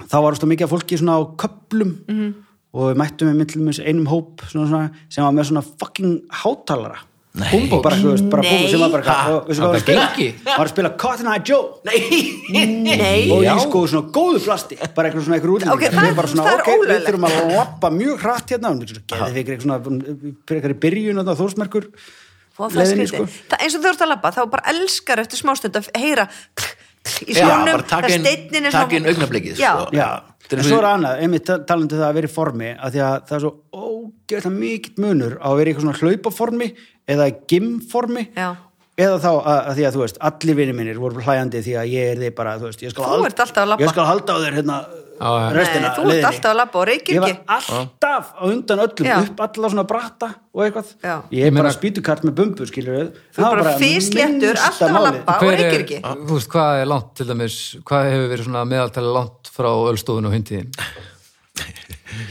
S4: þá var það mikið af fólki svona á köplum -hmm. og við mættum við myndlum eins einum hóp svona, svona, sem var með svona fucking hátalara
S1: Nei.
S4: Búmbó, bara, þú veist, bara
S3: Nei.
S4: búmbó sem var bara
S1: Ha,
S4: og, veistu hvað var að
S2: það
S4: spila?
S2: gengi.
S4: Var að spila Cotton Eye Joe
S3: Nei,
S4: og
S2: Já.
S4: í sko svona góðu plasti bara eitthvað svona eitthvað útlendingar
S3: Ok, það er-
S4: Ég bara svona,
S3: það er
S4: ok,
S3: ólöglegt.
S4: við þurfum að lappa mjög hratt hérna og geði við eitthvað svona frekar í byrjun og það þórsmerkur sko.
S3: Og það er skrítið. Það eins og þú ert að labba, þá bara elskar eftir smástund að heyra kl, kl, í
S1: Já,
S3: skónum,
S1: bara taka inn-
S3: steinninn
S1: taka inn augnablikið,
S3: Já,
S1: sko.
S4: Já,
S1: Þetta er
S4: en
S1: eins og-
S4: svo er annað, einmitt tal- talandi um það að vera í formi af því að það er svo ógeðlega mikill munur á að vera í eitthvað svona hlaupaformi eða gymformi
S3: Já.
S4: eða þá að, að því að þú veist, allir vinir minnir voru hlæjandi því að ég er þið bara, þú veist ég skal,
S3: Þú ert alltaf að labba.
S4: ég skal halda á þér hérna
S2: Já, já.
S4: restina,
S3: Nei, þú ert
S4: leiðinni.
S3: alltaf að labba og reykir
S4: Ég var
S3: ekki.
S4: alltaf á undan öllum,
S3: Já.
S4: upp alla svona bratta og eitthvað,
S3: Já.
S4: ég
S2: Ég
S4: er bara
S2: meina-
S4: spýtukart með bumbu, skilur við
S3: þú er bara fysléttur, alltaf að labba og
S2: hver
S3: reykir
S2: er,
S3: ekki.
S2: þú veist, hvað er langt til dæmis, hvað hefur verið svona meðaltali langt frá ölstofun og hundiðin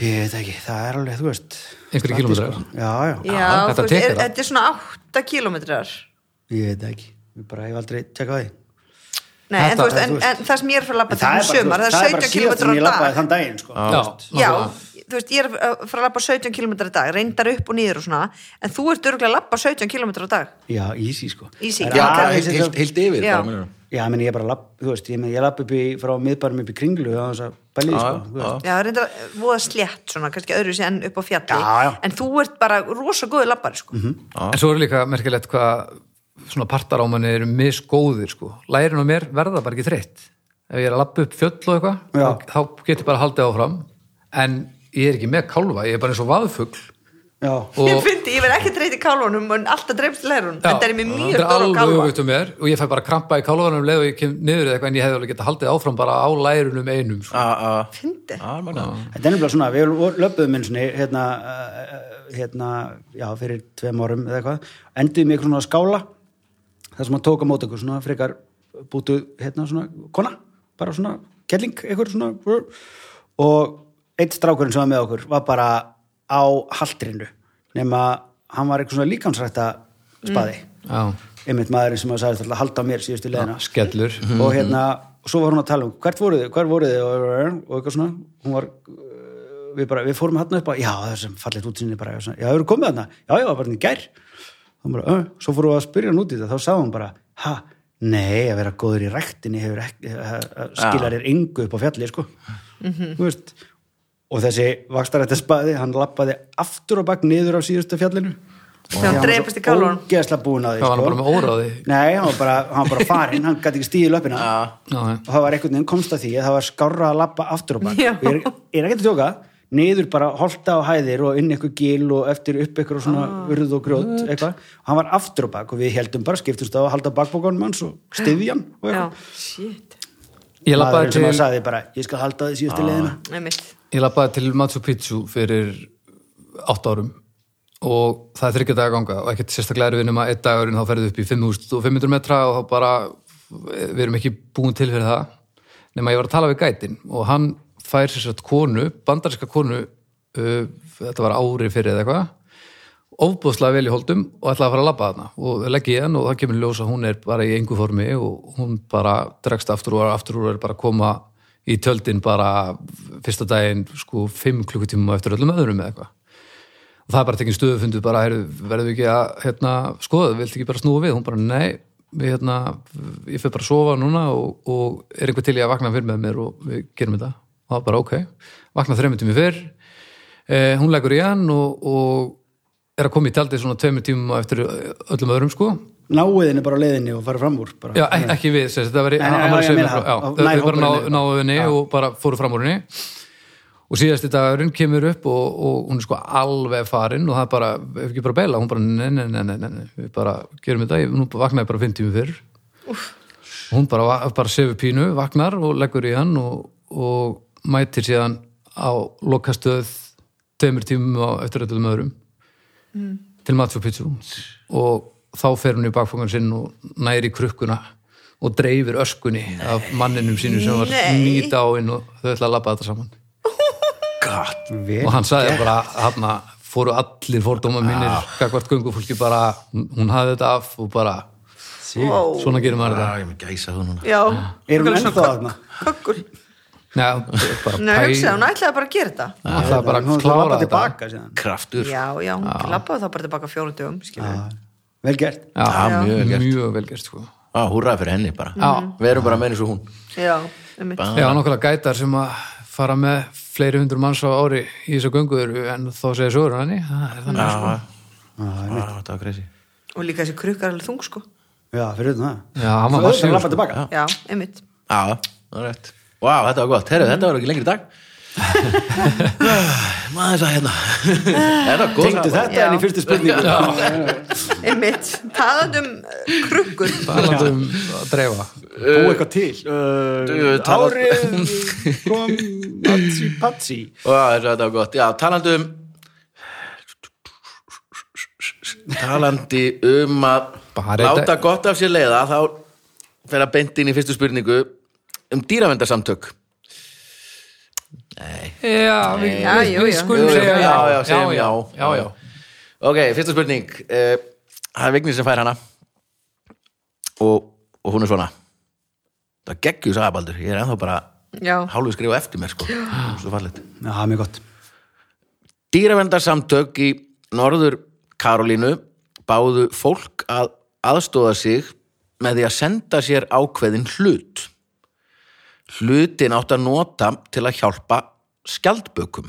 S4: Ég veit ekki, það er alveg, þú veist
S2: Einhverjir
S4: allir,
S2: kílómetrar.
S4: sko. Já, já,
S3: Já,
S2: þetta
S3: þú veist,
S2: tekur
S3: er-
S2: það.
S3: þetta er svona 8 kilometrar.
S4: Ég veit það ekki, ég bara hef aldrei tjekkað á því
S3: Nei, en
S2: Þetta-
S3: þú veist, en,
S4: þú veist.
S3: en það sem ég er að fara að labba
S4: En
S3: til um sumar, það er 17
S4: síðast sem ég
S3: kilometrar á
S4: labbaði
S3: dag.
S4: þann daginn sko.
S2: Já,
S3: Já,
S2: nákvæmlega.
S3: þú veist, ég er að fara að labba 17 kilometrar á dag, reyndar upp og niður og svona, en þú ert örgulega að labba 17 kilometrar á dag.
S4: já, easy sko
S3: Easy.
S4: Það er
S1: Já,
S4: alveg-
S1: heilt- heilt heilt yfir
S3: Já.
S1: bara, meinarðu.
S4: já, menn ég bara lapp, þú veist, ég, menn, ég lapp upp í, frá miðbærum upp í kringlu á þess að bælið
S1: Já,
S4: sko, þú veist.
S3: Já, reyndar eh, voða slétt svona, kannski öðru sér enn upp á fjalli
S4: Já, já.
S3: en þú ert bara rosa góði labbari sko.
S2: en svo er líka merkilegt hvað svona partar á manni eru misgóðir sko. lærin á mér verða bara ekki þreytt ef ég er að lappa upp fjöll og eitthvað
S4: Já.
S2: þá- þá get ég bara haldið áfram en ég er ekki með kálfa, ég er bara eins og vaðfugl
S4: já,
S3: Ég
S2: og
S3: fyndi, ég verð ekki dreyti kálunum en alltaf dreifst til lærun,
S2: Já,
S3: þetta er mér mjög
S2: þetta er
S3: góð á
S2: alveg
S3: kálva
S2: öfugt um mér og ég fæ bara krampa í kálfanum um leið og ég kem niður eða eitthvað en ég hefði alveg getað haldið áfram bara á lærunum einum sko.
S1: Á, á.
S3: Fyndi,
S1: Á, magna.
S4: þetta er nefnilega svona við vor- löbbuðum eins og hérna, uh, hérna, já, fyrir tveim árum eða eitthvað, enduðum í eitthvað svona skála þar sem hann tók á móti okkur svona frekar bútuð, hérna svona kona, bara svona kelling eitthvað svona og eitt strákurinn sem var með okkur var bara á haldrinu nema hann var eitthvað svona líkansrætta spaði,
S2: Já,
S4: einmitt maðurinn sem að sagði alltaf halda á mér síðustu leðina
S2: skellur
S4: og hérna, svo var hún að tala um hvert voruð þið, hvert voruð þið og, og eitthvað svona, hún var uh, við bara, við fórum hann upp að, já það er sem fallit útsinni bara, já, það eru komið hann já, já, bara hann í gær Hún bara, uh, svo fórum við að spyrja hann út í þetta, þá sagði hún bara ha, nei, að vera góður í rektinni hefur ekki, eh, eh, skilar þér engu upp á fjalli, sko
S3: Mhm.
S4: þú veist, og þessi vakstarætta spaði, hann lappaði aftur á bak niður á síðustu fjallinu
S3: Þegar hann drepist í kálfanum.
S4: Gæsla búin að því sko.
S2: Það var hann
S3: sko.
S2: bara með óráði
S4: Nei, hann var bara, hann var bara farinn, hann gæti ekki stíði löpina
S2: Já, já.
S4: og það var einhvern veginn komst að því að það var skárra að labba aftur á bak
S3: Já.
S4: ég er, ég er ekki að tjóka, niður bara holta á hæðir og inn eitthvað gil og eftir upp eitthvað svona
S3: Ah,
S4: urð og grjót eitthvað. og hann var aftur á bak og við heldum bara skiptumst á að halda bakbókanum hans og styðja hann og
S3: já,
S4: eitthvað.
S3: shit
S2: Ég
S4: maðurinn
S2: lappaði
S4: sem hann
S2: til, Ah.
S4: sagði bara, ég skal halda því síðustu leðina
S3: einmitt.
S2: ég labbaði til Machu Picchu fyrir átt árum og það er þryggja daga ganga og ekkert sérstaklega erfið nema einn dagurinn þá ferðu upp í 5500 metra og þá bara við erum ekki búin til fyrir það nema ég var að tala við gætin og hann fær sérstaklega konu, bandarska konu uh, þetta var ári fyrir eða eitthvað ofbúðslega vel í holdum og ætlaði að fara að labba þarna og legg ég hann og það kemur í ljós að hún er bara í engu formi og hún bara dregst aftur úr og aftur úr og er bara að koma í tjöldin bara fyrsta daginn sko 5 klukkutíma á eftir öllum öðrum eða eitthvað og það er bara tekin stöðufundu bara heyrðu, verðum við ekki að hérna, skoða, viltu ekki bara snúa við hún bara nei, við, hérna, ég fer bara að sofa núna og, og er einhver til í að vakna fyrir með mér og við gerum þetta og það er bara ok, vakna þreymur tími fyrr eh, hún leggur í hann og, og er að koma í tjaldið svona tveimur tímum á eftir öllum öðrum sko
S4: náuðinu bara á leiðinni og fara fram úr bara.
S2: Já, ek- ekki við, sem sagt, það var
S4: Nei, nei,
S2: hann var að
S4: já,
S2: segja
S4: ég
S2: mér
S4: meina
S2: frá,
S4: það.
S2: já,
S4: Nær
S2: við bara
S4: hópurinn
S2: ná-
S4: er-
S2: náðum henni og bara fóru fram úr henni og síðasti dagurinn kemur upp og, og hún er sko alveg farin og það er bara, ef ekki bara beila, hún bara nei, nei, nei, nei, nei, nei, við bara gerum þetta ég- hún vaknaði bara 5 tími fyrr hún bara, bara sefur pínu, vaknar og leggur í hann og, og mætir síðan á lokastöð tveimur tímum á eftir öllum öðrum til Machu Picchu og þá fer hún í bakfangan sinn og næri krukkuna og dreifir öskunni af manninum sínum sem var
S3: Nei.
S2: nýta á inn og þau ætla að labba þetta saman
S1: God.
S2: og hann sagði bara hann fóru allir fordóma mínir gagvart göngufólki bara, hún hún hafði þetta af og bara,
S3: wow.
S2: svona gerir maður þetta
S1: Ah, ég með gæsa það núna
S3: já,
S4: Er hún
S3: Svona
S4: ennþá þarna?
S3: kökkur
S2: Nei, bara
S3: Nei, hugsaði,
S2: pæ
S3: hún ætlaði bara að gera þetta
S2: Það er bara að
S4: Hún ætlar að
S2: klára
S4: labba
S2: þetta
S4: tilbaka síðan.
S1: kraftur
S3: já, já, hún lappaði þá bara tilbaka fjórum dögum
S4: Ah.
S3: skilur við.
S4: Vel gert.
S2: Já,
S1: Já, mjög vel gert.
S2: mjög vel gert sko.
S1: Á, húrraði fyrir henni bara
S2: Já.
S1: Við erum bara með eins og hún
S3: já, einmitt.
S1: Bara-
S2: Já, nokkala gætar sem að fara með fleiri hundur manns á ári í þessu gönguður en þá segja sögur hann henni það er þannig
S1: Já,
S2: sko.
S1: já. Já, þetta var crazy
S3: og líka þessi krukkar alveg þung sko
S4: Já, fyrir utan það.
S2: Já, hann var
S4: Svo
S2: massífur,
S4: auðvitað lappa
S2: sko.
S4: tilbaka.
S3: já, einmitt
S1: Já, það er rétt Vá, þetta var gott, herru, þetta var ekki lengri dag Maður það hérna Þetta var góð
S4: Tengdu
S1: saman.
S4: þetta enn í fyrstu spurningu.
S3: einmitt, talandi um eh, krukkur
S2: talandi um að dreifa
S4: Bú eitthvað til.
S1: du,
S4: Uh,
S1: talar-
S4: Árið kom patsi patsi.
S1: Vá, þetta var gott, já, talandi um Talandi um að
S2: Bara
S1: láta
S2: þetta-
S1: gott af sér leiða þá fer að beint inn í fyrstu spurningu um dýravendarsamtök
S2: Já, við,
S3: Já,
S2: við,
S3: jú,
S2: við
S3: já.
S2: skulum
S1: Jú,
S2: segja
S1: já, já, segjum já.
S2: já, já.
S1: Ok, fyrsta spurning Eh, Það er Vignir sem fær hana og, og hún er svona Það geggjur sagabaldur Ég er ennþá bara
S3: já,
S1: hálfu skrifa eftir mér sko. Svo fallegt
S4: Já, mjög gott.
S1: Dýravendarsamtök í Norður Karolínu báðu fólk að aðstóða sig með því að senda sér ákveðin hlut Hlutin átt að nota til að hjálpa skjaldbökum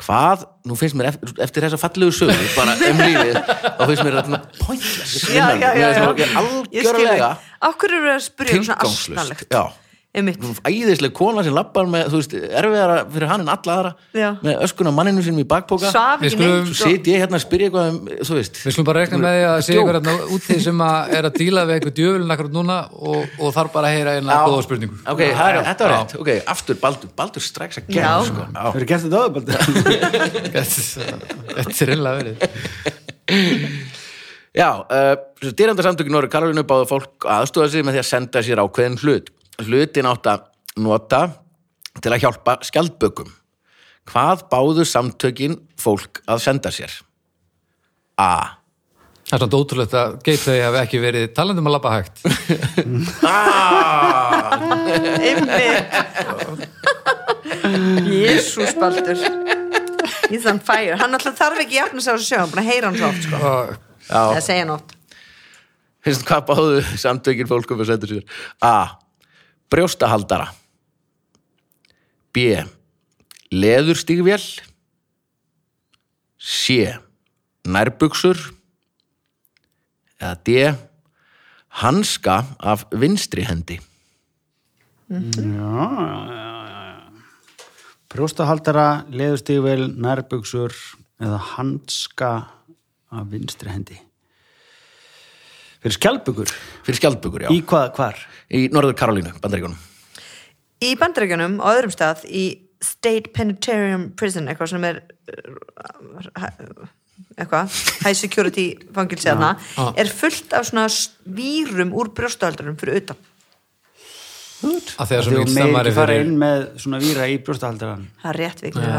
S1: Hvað, nú finnst mér eftir, eftir þessa fallegu sögu, bara um lífið þá finnst mér þetta pointless
S3: já, já, já, já. Ég skil
S1: algjörlega
S3: þig. af hverju eru að spyrja um svona
S1: tilgangslust
S3: asnalegt
S1: Já
S3: einmitt,
S1: æðisleg kona sem lappar með, þú veist, erfiðara fyrir hann en alla aðra
S3: Já.
S1: með öskuna manninu sínum í bakpoka
S3: svaf
S2: Við
S3: ekki
S2: skulum
S3: neitt
S1: svo
S3: sko.
S1: sit ég hérna að spyrja eitthvað um, þú veist
S2: Við skulum bara rekna með því að segja ykkur hérna úti sem að er að díla við einhver djöfulinn akkur núna og, og þarf bara að heyra eina
S1: Já.
S2: góða spurningu
S1: ok, það er, þetta var rétt, ok, aftur Baldur Baldur stræks að gera
S3: Já.
S1: sko.
S4: Þú
S1: Já.
S4: eru gert þetta áður, Baldur.
S2: Þetta er einlega verið
S1: já, uh, dýrandarsamtökin Nóri Karolínu báðu fólk að aðstofa sig með því að senda sér ákveðin hlut hlutin átt að nota til að hjálpa skjaldbökum hvað báðu samtökin fólk að senda sér A
S2: Það er svona ótrúlegt að geit þau hafi ekki verið talandi um að labba hægt
S1: ah,
S3: einmitt jésús baldur he's on fire, hann alltaf þarf ekki jafn að segja þessu sjöfum, bara heyra hann svo oft sko.
S2: og
S1: Já.
S3: eða segja hann oft
S1: Finnst hvað báðu samtökin fólkum að senda sér? A. Brjóstahaldara B. Leðurstígvél C. Nærbuxur eða D. Hanska af vinstri hendi
S4: Brjóstahaldara, leðustígvel, nærbuxur eða handska af vinstri hendi. Fyrir skjálpugur.
S1: fyrir skjaldbökur, já,
S4: Í
S1: í,
S4: hvað, hvar?
S1: Norður Karolínu, bandaríkunum
S3: í bandaríkjunum og öðrum stað í State Penitentiary Prison eitthvað sem er uh, eitthvað, high security fangilsi þarna, er fullt af svona s- vírum úr brjóstuhaldarum fyrir utan,
S2: að þegar svo
S4: Þú
S2: mikið
S4: meir
S2: stemmari
S4: ekki fara
S2: fyrir
S4: inn með svona víra í brjóstahaldaran.
S3: það er rétt viknir já,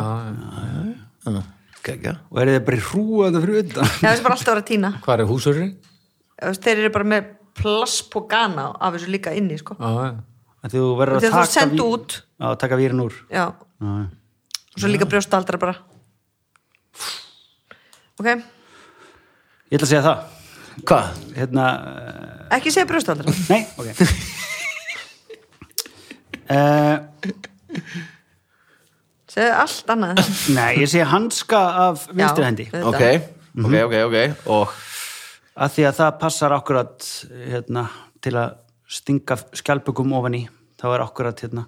S1: Kækja
S4: Og eru þið bara í hrúaða fyrir utan?
S3: það er bara alltaf að vera að týna
S2: hvað er húsurinn?
S3: Þú veist, þeir eru bara með plasspogana af þessu líka inni, sko
S2: Já, já.
S4: Að Þú verður að
S3: Þegar þú
S4: taka
S3: senda
S4: vír-
S3: út.
S4: Já, taka vírin úr.
S3: já, og
S4: Já, já.
S3: svo líka brjóstuhaldara bara ok,
S4: Ég ætla að segja það.
S1: Hvað?
S4: Hérna,
S3: ekki segja brjóstuhaldara
S4: eh, nei, ok. uh,
S3: segja allt annað en það.
S4: nei, ég segja handska af vinstri
S3: Já,
S4: hendi.
S3: auðvitað.
S1: Ok, ok, ok, ok og
S4: að því að það passar akkurat hérna, til að stinga skjálpugum ofan í þá er akkurat hérna,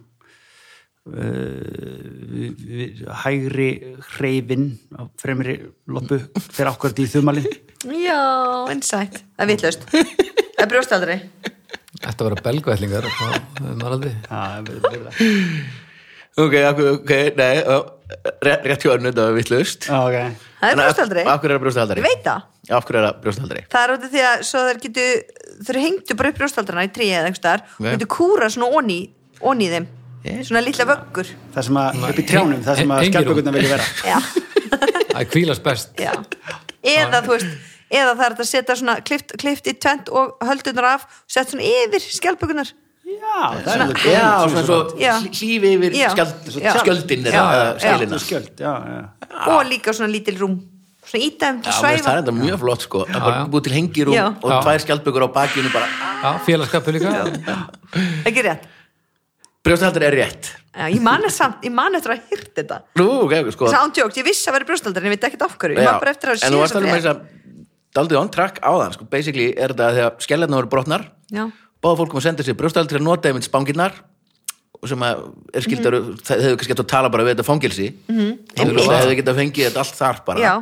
S4: uh, hægri hreyfin á fremri loppu fyrir akkurat í þumali
S3: Já, insight. Það er vitlaust. Það er brjóstaldri.
S2: Þetta voru belgvætlingar og það er maður aldrei
S4: það
S1: ok, ok, nei já, rétt rétt hjá önnu, það var vittlust
S4: Já, ok.
S3: Það er brjóstaldri.
S1: Af hverju er það brjóstaldri?
S3: Ég veit það.
S1: Af hverju er það brjóstaldri?
S3: Það er út af því að svo þeir getu þeir hengdu bara upp brjóstaldrana í tríið eða einhvers staðar og
S1: Nei.
S3: getu kúra svona onni onni í þeim,
S1: Ég-
S3: svona litla vöggur
S4: Það sem að, upp í trjánum, það sem að
S2: Hengir hún?
S4: skjálpökunna vilja vera.
S3: já,
S2: Það kvílast best
S3: já eða þú veist, eða það er hægt að setja svona klift, klift í tvent og höldunar af og sett svona yfir skjálpugunar
S4: Já, það er
S1: Svona-
S4: alveg
S1: Já,
S4: góð.
S1: svona svo
S3: Já.
S1: hlí- hlífi yfir
S3: Já.
S1: skjald-
S3: Já.
S1: skjöldin
S3: Já,
S1: eða eða
S3: já.
S1: skilina
S4: Svo skjöld, já, já.
S3: og líka svona lítil rúm svona ídæm
S1: Já,
S3: til
S1: mér finnst
S3: svæfa
S1: það er þetta mjög flott sko að bara
S2: já.
S1: búið til hengirúm
S3: Já.
S1: og
S2: Já.
S1: tvær skjaldbökur á bakinu bara "Ah,
S2: Já, félagskapu líka
S3: ekki rétt,
S1: brjóstaldri er rétt
S3: já, ég man það samt ég man eftir að hýrt þetta
S1: Nú, ok, sko
S3: þess að ándjókt, ég vissi að vera brjóstaldri en ég veit ekki af hverju, ég
S1: Já.
S3: man bara eftir að
S1: En þú varst
S3: samt
S1: alveg með
S3: rétt.
S1: þess að daldið on track á þann sko basically er þetta þegar skellarnar voru brotnar
S3: já,
S1: báða fólkum að senda sér brjóstaldri að nota einmitt spangirnar og sem að er skildar
S3: Mhm.
S1: mm -hmm. þeir hefðu kannski gett að tala bara við þetta fangilsi mm -hmm.
S3: Einmitt.
S1: hefðu gett að fengið þetta allt þar bara
S3: Mhm. já,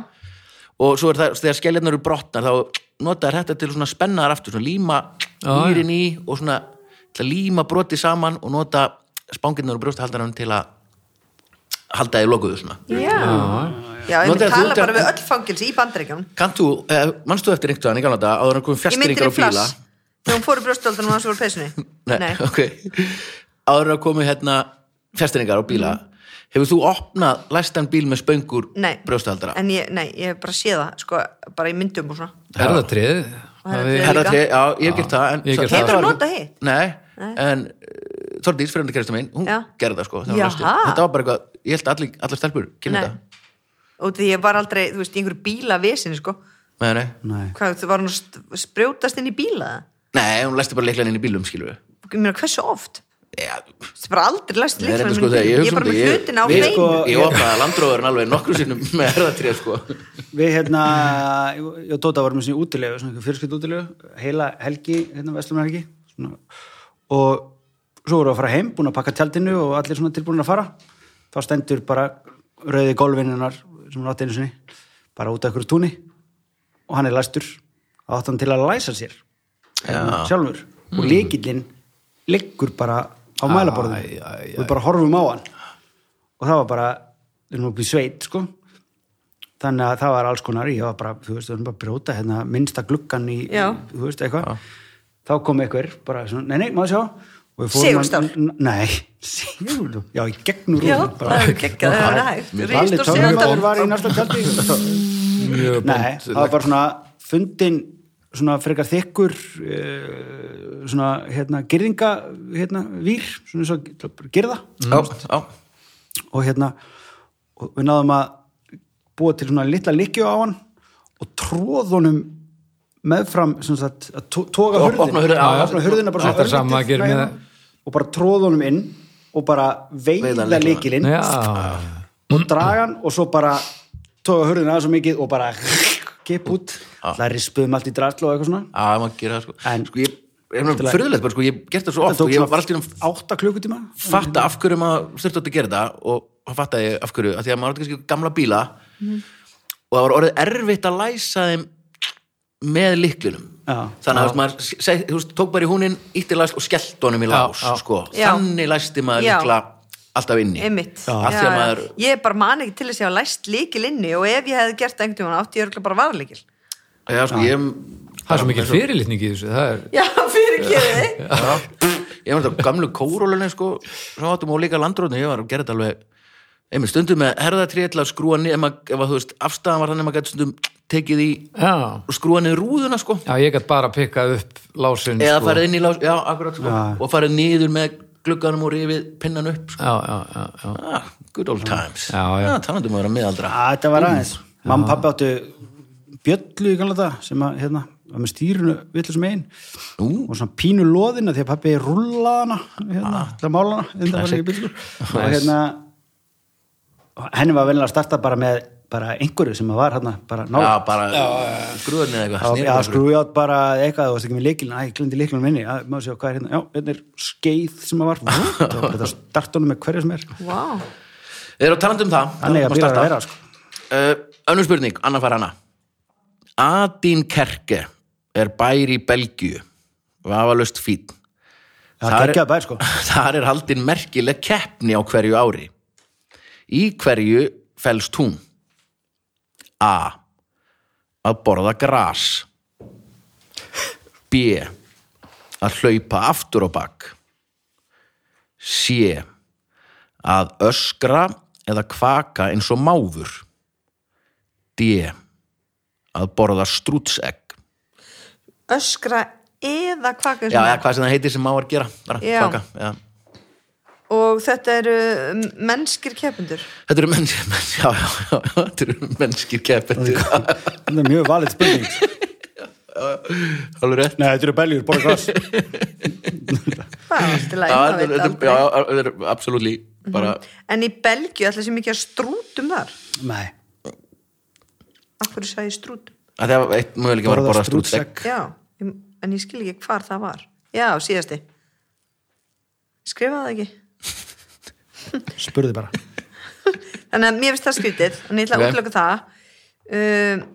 S1: og svo er það, þegar skelljarnar eru brotnar þá notaður þetta til svona spennaðar aftur svona líma
S2: Já, já.
S1: nýrin í og svona til að líma broti saman og nota spangirnar og brjóstahaldarann til að halda því lokuðu svona
S3: já já, ég myndi
S1: Notaðir þú
S3: tala
S1: þetta-
S3: bara við öll fangilsi í bandaríkjum
S1: Kantu, eh, manstu eftir einhvern veginn í gamla þetta áður en komum
S3: Ég myndir
S1: fjastringar
S3: í
S1: á bíla
S3: flass Þegar hún fór í brjóstöldan og hans voru peysunni
S1: Nei, ok áður en komum hérna fjastringar á bíla hefur þú opnað læstan bíl með spöngur
S3: Mhm. Nei.
S1: brjóstahaldara?
S3: En ég, nei, ég hef bara séð það sko, bara í myndum og svona
S2: Herðatrið Það við-
S3: Herðatrið.
S1: Herra
S3: líka.
S1: tré, já, ég hef gert það en
S2: ég hef gert það.
S1: þetta var-
S3: Hefurðu notað hitt?
S1: Nei, en eh, Þordís, fyrir hundi kæristu mín, hún
S3: Já.
S1: gerði það sko það
S3: Jaha.
S1: var næstu. Þetta var bara eitthvað, ég held allir, allar stelpur kynna
S3: Nei.
S1: þetta
S3: Og því ég var aldrei, þú veist, í einhverju bíla vesinni sko.
S1: Nei, nei,
S4: Nei.
S3: Hvað, þú var hún að st- sprjótast inn í bíla
S1: nei, hún læsti bara leiklan inn í bílum, skilur við
S3: Ég meina, hversu oft?
S1: Já,
S3: Þú veist, bara aldrei læst
S1: það er
S3: líklega
S1: þetta sko þegar ég
S3: Ég er
S1: hugsa um
S3: bara með
S1: þetta,
S3: hlutin á
S1: ég-
S3: hreinu
S1: við-
S4: sko-
S1: Ég opnaði landróðurinn alveg nokkru sinnum með herðatré, sko
S4: Við hérna, ég og Tóta varum með svona útilegu, svona einhver fyrirskipt útilegu, heila helgi, hérna Vestlumhelgi, svona, og svo voru að fara heim, búin að pakka tjaldinu og allir svona tilbúin að fara. Þá stendur bara rauði golfinunnar sem hún átti einu sinni, bara út af ykkur túni og hann er læstur. Það átti hann til að læsa sér hérna, sjálfur og líkillinn liggur bara á mælaborðinu
S2: Mm. Æ, æ, æ.
S4: og við bara horfum á hann og það var bara, við erum upp í sveit sko, þannig að það var alls konar ég var bara, þú veist, við erum bara að brjóta hérna, minnsta gluggan í,
S3: Já.
S4: þú veist, eitthvað þá kom einhver, bara svona, nei, nei, maður sjá og við
S3: Sigurstál.
S4: að- nei, sigurstál, já, í gegnum
S3: Já,
S4: rúðuna bara.
S3: það er geggjað, það er hægt.
S4: Mér
S3: Ríst
S4: Palli
S3: og
S4: Tönnur
S3: sigurstál.
S4: var í næsta tjaldi
S2: Mjög bónd
S4: Nei, það var bara svona fundin svona frekar þykkur uh, svona hérna gyrðinga, hérna vír svona svo gyrða
S1: Já, já,
S4: og hérna og við náðum að búa til svona litla likju á hann og tróðunum meðfram sem sagt, að tó- toga
S1: Op-
S4: hurðin
S1: opna hurðina, já, já.
S4: opna hurðina bara
S2: Þetta er sama
S4: örlítið
S2: að gera
S4: með
S2: með-
S4: hana og bara tróðunum inn og bara
S1: Veiða
S4: veiða
S1: lykilinn.
S4: leikilinn
S2: Já,
S4: og draga hann og svo bara toga hurðina aðeins og mikið og bara kipp út, það rispuðum allt í draslu og eitthvað svona
S1: já, maður gera það, sko
S4: En-
S1: Sko, ég, ég er fyrirlegt bara, sko, ég hef gert það svo
S4: Þetta
S1: oft
S4: tók
S1: og ég
S4: svona
S1: var alltaf
S4: átta klukkutíma
S1: fatta af hverju maður þurfti átt að gera þetta og þá fattaði ég af hverju, af því að maður átti kannski gamla bíla
S3: Mhm.
S1: og það var orðið erfitt að læsa þeim með liklunum
S4: Já.
S1: þannig að þú veist, maður seg, þú veist, tók bara í húnin, ítti læst og skellt honum í lás
S2: já.
S1: sko.
S3: Já.
S1: þannig læsti maður
S3: Já.
S1: líkla alltaf inni
S3: Einmitt.
S1: af því að
S3: Já, já.
S1: maður
S3: Ég bara man ekki til þess að ég hafa læst líkil inni og ef ég hefði gert það einhvern tímann átti ég örgulega bara varleikil
S1: já, sko, ég,
S2: það er svo mikil fyrirlitning í þessu Það er
S3: Já, fyrir kjöði
S1: já, ég var þetta gamlu kórólunni sko, sem áttum og líka landróðni ég var að gera þetta alveg einmitt stundum með herðatrið til að skrúa niður ef, maður- ef að, þú veist, afstæðan var þannig að maður gæti stundum tekið í
S2: Já,
S1: og skrúa niður rúðuna sko
S2: já ég gætt bara pikkað upp lásin
S1: eða
S2: sko.
S1: farið inn í lás, já, akkurat sko
S4: Já.
S1: og farið niður með glugganum og rifið pinnan upp sko.
S2: Já, já, já, já
S1: ah, good old times
S2: Já, já.
S1: talandum að vera miðaldra
S4: að þetta var aðeins mamma og pappi áttu bjöllu í kannan þetta sem að hérna var með stýrunu villu sem einn
S1: Nú.
S4: og svona pínu loðina því að pappi rúllaði hana hérna, til að mála hana hérna var
S1: Classic.
S4: ekki bílskur og hérna og henni var vel að starta bara með bara einhverju sem að var hérna bara
S1: já,
S4: nála
S1: bara skrúa niður eitthvað
S4: Já,
S1: snerið
S4: já
S1: bara skrúa.
S4: skrúi átt bara eitthvað, þú veist ekki með leikilin, æ, ég glendi leikilin minni, já, maður sjá hvað er hérna, já, hérna er skeið sem að var, það var þetta startunum með hverju sem er,
S3: Vá,
S1: Þeir eru talandi um það
S4: hann er
S1: talandi
S4: að
S1: um
S4: byrja að
S1: starta.
S4: vera, sko.
S1: uh, önnur spurning, annar fara hana Adinkerke er bær í Belgíu vafalust fín
S4: það
S1: Þar-
S4: er ekki að bæði sko
S1: Þar er haldin merkileg keppni á hverju ári. Í hverju fælst hún? A. Að borða gras. B. Að hlaupa aftur á bak. C. Að öskra eða kvaka eins og máfur. D. Að borða strútsegg.
S3: öskra eða kvaka
S1: Já, eða hvað sem það heitir sem máar gera. Bara,
S3: Já.
S1: kvaka, já.
S3: og þetta eru um, mennskir keppendur
S1: Þetta eru mennskir, menn, já, já, já, þetta eru mennskir keppendur,
S4: það er mjög valið spurning nei,
S1: alveg rétt.
S4: þetta eru beljur, borða glas
S3: það er allt
S1: Já,
S3: í lagi, maður
S1: þetta eru-
S3: veit
S1: já,
S3: aldrei. Mhm.
S1: já, þetta eru absolutt bara,
S3: en í Belgju ætla sem ekki að strútum þar
S4: nei,
S3: af hverju sagði ég strútum
S1: að það var eitt möguleika var að
S4: Borða
S1: borða
S4: strútsegg.
S1: strútsegg.
S3: já, ég- en ég skil ekki hvar það var já, síðasti skrifaði það ekki
S4: spurði bara
S3: þannig að mér finnst það skrítið og ég ætla að
S1: Ok.
S3: útlöka það um,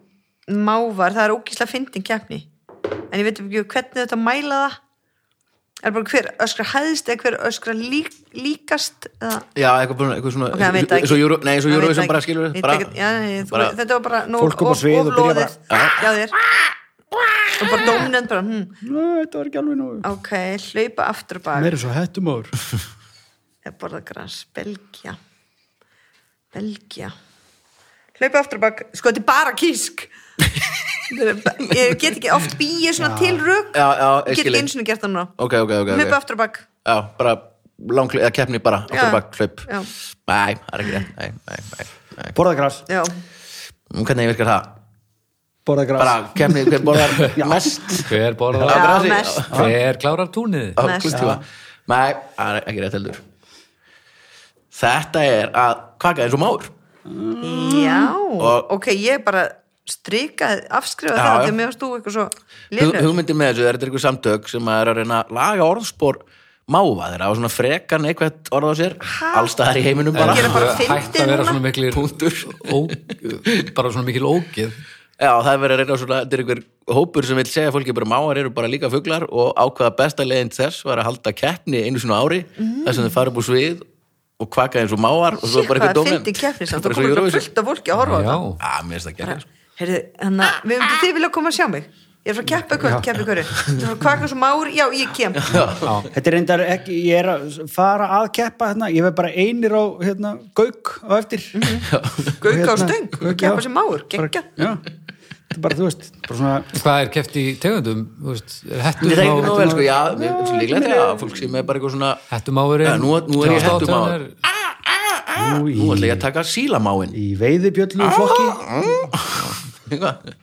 S3: mávar, það er ógísla fyndin keppni en ég veit ekki hvernig þetta mæla það er bara hver öskra hæðst eða hver öskra lík, líkast eða
S1: Já, eitthvað, bara- eitthvað svona,
S3: Ok, hann veit það ekki
S1: svo Euro, nei, svo
S3: Hann
S1: Euro
S3: veit það
S1: sem bara
S3: ekki.
S1: skilur
S3: Veit
S1: bara,
S3: ekki- já, nei, þú-
S1: bara,
S3: Þetta var bara nóg
S4: Fólk kom á svið og byrjaði bara-
S3: Já þér Og bara dóminant bara hm,
S4: Nú, þetta var ekki alveg nógu
S3: Ok, hlaupa aftur á
S4: Mér
S3: bak
S4: er svo hættum áur
S3: Ég borða græs, Belgia Belgia Hlaupa aftur á bak Sko þetta er bara kísk Ég get ekki oft býið svona til rök
S1: Já, já, ég
S3: Ég get
S1: skil
S3: ekki
S1: ég.
S3: eins og gert það núna
S1: ok, ok, ok, ok.
S3: Hlaupa aftur á bak
S1: Já, bara langhlaup, eða keppni bara,
S3: Já.
S1: okkur bak, hlaup.
S3: Já.
S1: Nei, það er ekki rétt, nei, nei, nei, nei.
S4: borða glas,
S3: Já,
S1: Nú, Hvernig virkar það?
S4: borða gras
S1: Bara keppni, hver borðar mest?
S2: Hver
S1: Á
S2: borðar,
S3: Já,
S1: grasi?
S3: mest.
S2: hver klárar túnið?
S1: á
S3: Mest.
S1: klukkutíma Nei, það er ekki rétt heldur Þetta er að kvaka eins og máur
S3: já
S1: Og-
S3: Ok, ég bara strikaði, afskrifaði
S1: Já,
S3: það
S1: já.
S3: Þegar mér varst þú eitthvað svo
S1: Hug,
S3: lélegur.
S1: Hugmyndin með þessu, það er eitthvað samtök sem að er að reyna að laga orðspor máva þeirra og svona frekar neikvætt orð á sér allstaðar í heiminum bara
S3: Gera bara
S2: Hætt
S3: fyndið
S2: að vera
S3: núna.
S2: svona miklir
S1: Punktur.
S2: ó, bara svona mikil ógeð
S1: Já, það er verið að reyna svona, þetta er einhver hópur sem vil segja fólki bara máar eru bara líka fuglar og ákvaða besta leiðin til þess var að halda keppni einu svona ári þar sem þau fara upp úr svið og kvaka eins og máar og svo
S3: Sér
S1: bara
S3: hvað
S1: eitthvað
S3: það
S1: dómnefnd.
S3: fyndi keppni samt,
S1: Bara
S3: þú
S1: svo
S3: komur
S1: Eurovision.
S3: fullt af fólki að horfa á
S2: Já,
S1: Já,
S3: það
S1: Ah. mér finnst það gekkja
S3: Heyrðu, þannig að við höfum þið vilja koma að sjá mig Ég er frá keppa kvöld, keppa í hverju Kvaka svo mári, já ég kem
S4: Þetta er reyndar ekki, ég er að fara að keppa hérna, ég verð bara einir á hérna, gauk á eftir
S1: Mhm.
S4: hérna-
S3: Gauka á stöng,
S4: Gauk, já.
S3: keppa sem máur,
S4: Bara-
S3: geggja
S4: Já, þetta er bara, þú veist, bara svona
S2: hvað er keft í tegundum? Þú veist, er
S1: Mér
S2: Hettum
S1: það ekki
S2: á-
S1: nóg vel, sko, já, mér finnst líklegt að fólk sem er bara eitthvað svona
S2: Hettum áður
S1: Já, nú- nú er ég hettumáfur.
S4: nú
S1: Nú ætla
S4: í,
S1: ég að taka sílamáin
S4: í veiðibjöllu
S3: Ah!
S4: flokki
S1: Eitthvað.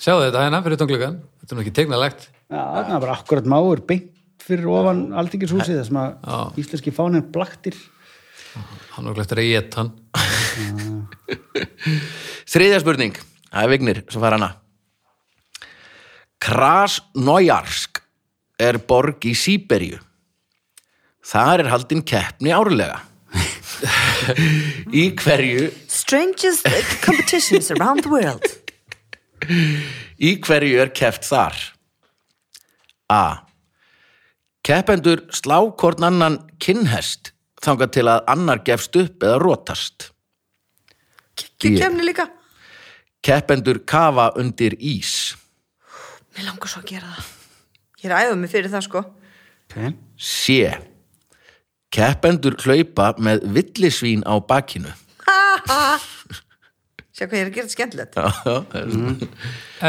S2: Sjáðu þetta hérna fyrir tónglugan Þetta er nú ekki tegnalegt
S4: Já, það er bara akkurat máur beint fyrir ofan aldingishúsið þar sem að íslenski fáninn blaktir
S2: Hann er glættur að ég hann
S1: Þriðja spurning, það er Vignir sem fara hana Krasnojarsk er borg í Sýberíu Þar er haldin keppni árlega Í hverju
S3: Strangest competitions around the world
S1: Í hverju er keft þar? A. Keppendur slá hvort annan kinnhest þangað til að annar gefst upp eða rótast.
S3: Geggju kemni líka
S1: Keppendur kafa undir ís.
S3: Mér langar svo að gera það Ég er æfðið mig fyrir það sko
S4: okay.
S1: C. Keppendur hlaupa með villisvín á bakinu.
S3: Ha, ha. Sjá hvað ég er að gera þetta skemmtilegt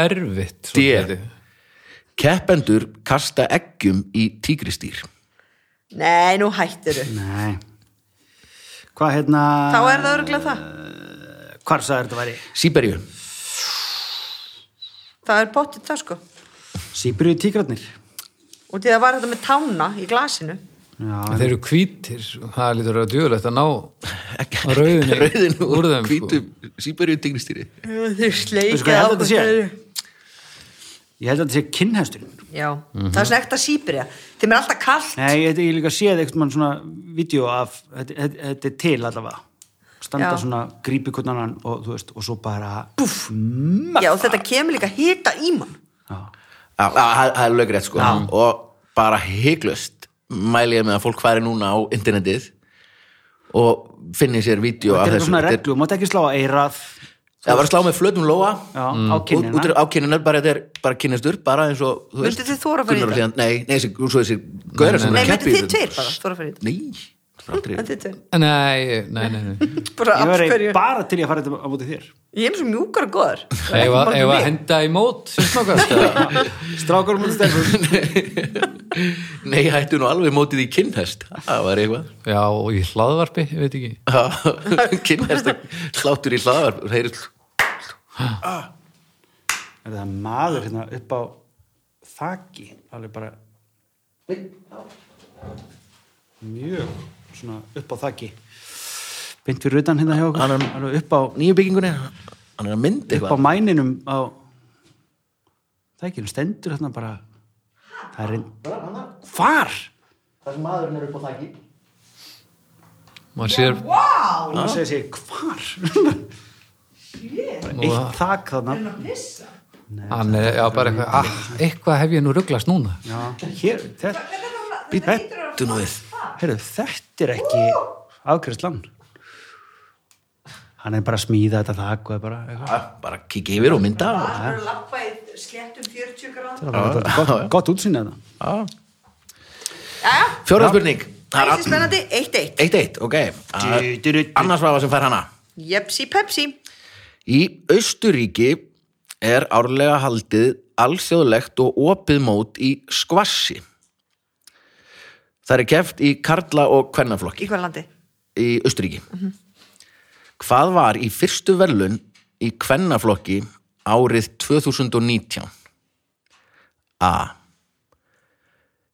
S2: Erfitt svo
S1: D.
S2: þetta.
S1: Keppendur kasta eggjum í tígristýr.
S3: Nei, nú hættir þau
S4: Nei Hvað hérna,
S3: Þá er það örgulega það
S4: hvar sagði þetta væri?
S1: Sýberju.
S3: Það er pottið það sko
S4: Sýbriðu tíkratnir
S3: Og því það var þetta með tána í glasinu
S4: Já,
S2: En Þeir eru hvítir Það er lítur að djöðulegt að ná Rauðinu
S1: Rauðin úr
S2: úr þeim, sko.
S1: hvítum Sýberju tígristýri.
S3: Þau
S4: Veistu hvað ég
S3: sleikja
S4: held að þetta sé? ég held að þetta sé kynhesturinn
S3: Já, það er svona ekta síbrja Þeim er alltaf kallt
S4: Mhm. Nei, ég, ég líka séð eitthvað mann svona vídeo af, þetta, þetta, þetta er til allavega standa
S3: Já.
S4: svona, grípi hvern annan og þú veist, og svo bara buff,
S3: Já, og þetta kemur líka hita í mann
S4: já,
S1: Já, það það er lögrétt sko og bara heiklust mæli ég með að fólk fari núna á internetið og finni sér vídeo af
S4: þetta er eitthvað
S1: þessu
S4: svona
S1: Þetta er-
S4: reglu, mátt ekki slá að eirað
S1: það
S2: sko.
S1: var að slá með flötum lóa
S4: já, á
S1: Mm. út, út
S4: kinnina
S1: á kynnunar, bara þetta er bara kynnistur bara eins og, þú
S3: Mynduð þið þora að fara í
S1: Gunnar og
S3: þetta?
S1: Hlíðan- nei, nei, þessi, svo þessi gauðra sem
S3: Nei,
S1: eru að
S3: myndi
S1: keppa í
S3: þið
S1: þessu.
S3: tveir bara, þú er að fyrir
S1: nei, aldrei
S3: Þið tveir,
S2: Nei, nei, nei, nei.
S3: bara
S4: ég
S3: af
S4: verði
S3: hverju
S4: bara til ég að fara þetta á móti þér
S3: Ég er svo mjúkar og góður Það er ekki
S2: Ef að-
S3: mál
S2: ef
S3: fyrir
S2: að
S3: mig.
S2: henda í mót sem snákast eða?
S4: strákur á móti stelpum
S1: nei, hættu nú alveg mótið í kynhest það var eitthvað
S2: Já, og í hlaðvarpi, ég veit ekki
S1: kynhest sláttur í hlaðar það er
S4: er það maður hérna upp á þaki alveg bara mjög svona upp á þaki beint fyrir utan hérna hjá okkur
S1: Hann er-
S4: alveg upp á,
S1: nýju byggingunni hann er að myndi
S4: upp á
S1: eitthvað
S4: mæninum á þakinu stendur hérna bara það er einn hvar?
S1: það sem maðurinn er upp á þakki
S2: Man sér,
S4: hann segir sér hvar? bara eitt þak þarna
S2: hann er, já, bara eitthvað ah, eitthvað hef ég nú rugglast núna
S4: já, hér, þetta þetta,
S1: þú nú við
S4: heyrðu, þetta er ekki afgjörslan hann er bara að smíða þetta þak og er bara eitthvað
S1: Ha, bara kikið yfir og mynda og-
S3: Það er að labba í sléttum 40 gráð
S4: Það var þetta gott, gott hérna. útsýn eða
S1: Já.
S3: Jæja,
S1: fjórða spurning
S3: það er spennandi, 1-1
S1: eitt eitt, ok annars var það sem fær hana
S3: Jepsi pepsi
S1: í Austuríki er árlega haldið alþjóðlegt og opið mót í skvassi það er keft í karla og kvennaflokki
S3: Í hvað landi?
S1: í Östuríki Hvað var í fyrstu verðlun í kvennaflokki árið 2019? A.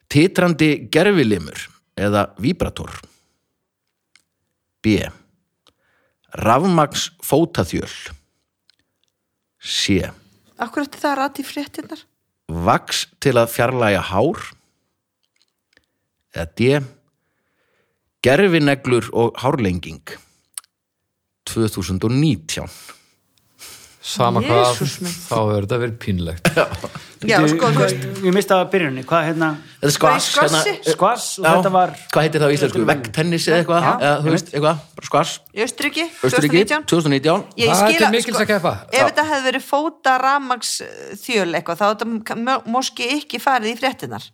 S1: Titrandi gerfilimur eða vibrator B. Rafmags fótaþjöl C.
S3: Akkur eftir það að rati fréttinnar?
S1: Vax til að fjarlæga hár eða D Gerfineglur og hárlenging 2019
S2: sama hvað,
S3: Jesús minn.
S2: þá verður þetta verið pínlegt
S3: Já, sko, þú veist
S4: Ég, ég mistaði byrjunni, hvað hérna
S1: Þetta er skvass
S3: Bara í skvassi?
S1: hérna,
S4: Skvass og
S1: já,
S4: þetta var
S1: Hvað heitir það á íslensku? Veggtennis eða eitthvað? Eða, þú veist, eitthvað, bara skvass
S3: Í Östuríki,
S1: Östuríki,
S3: 2019
S1: 2019
S3: Ég
S2: Það er
S3: skil
S2: til
S3: að-
S2: mikils að keppa.
S3: Ef þetta hefði verið fóta ramags þjöl eitthvað, þá hefði þetta mö- moski ekki farið í fréttinnar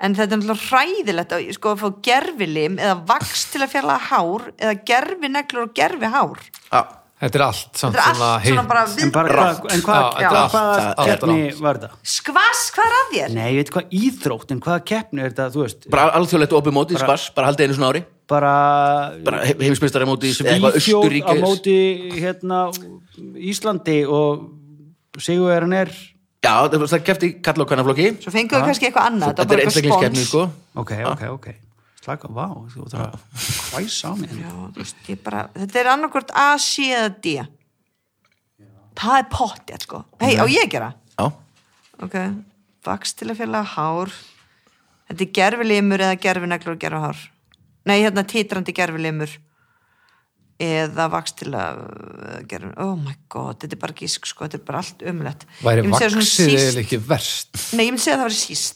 S3: En þetta er náttúrulega hræðilegt að sko, að fá gerfilim eða vaks til að fjalla hár eða gerfineglur og gerfihár
S1: Já,
S2: Þetta er allt samt
S3: Þetta er allt
S2: svona
S3: svona
S2: hint.
S3: bara
S4: En
S3: við
S4: bara
S1: Rangt.
S4: hvað, en hvað,
S2: Já, þetta
S4: hvað,
S2: er
S4: hvaða
S1: allt-
S2: allt
S4: keppni
S2: rangt.
S4: var þetta?
S3: Skvass, hvað er að þér?
S4: Nei, ég veit hvað íþrótt, en hvaða keppni er þetta, þú veist
S1: bara alþjóðlegt opið móti, skvass, bara haldið einu svona ári
S4: bara,
S1: bara heimsmyndstari móti eða eitthvað
S4: Svíþjóð á
S1: Östuríki
S4: móti hérna Íslandi og sigur er hann er
S1: Já, það kefti kalla og kvennaflokki
S3: Svo fengum við kannski eitthvað annað
S1: Þetta er
S3: var bara eitthvað
S1: einstaklingskeppni,
S3: spons.
S1: sko
S4: Ok, ok, ok Slaka, vá, þú þarf að hvæsa á mig
S3: Já, þú veist, ég bara, Þetta er annarkvort A, C eða D Það er pottið sko. Hei,
S1: Mhm.
S3: á ég að gera?
S1: Já,
S3: Ok, vaks til að fjalla hár Þetta er gerfilimur eða gerfineglur og gerfahár Nei, hérna titrandi gerfilimur eða vaks til að gerfin, oh my god, þetta er bara gísk sko, þetta er bara allt umlegt
S2: væri
S3: Ég myndi segja svona
S2: vaksið
S3: síst-
S2: eða ekki verst
S3: Nei, ég myndi segja að það var síst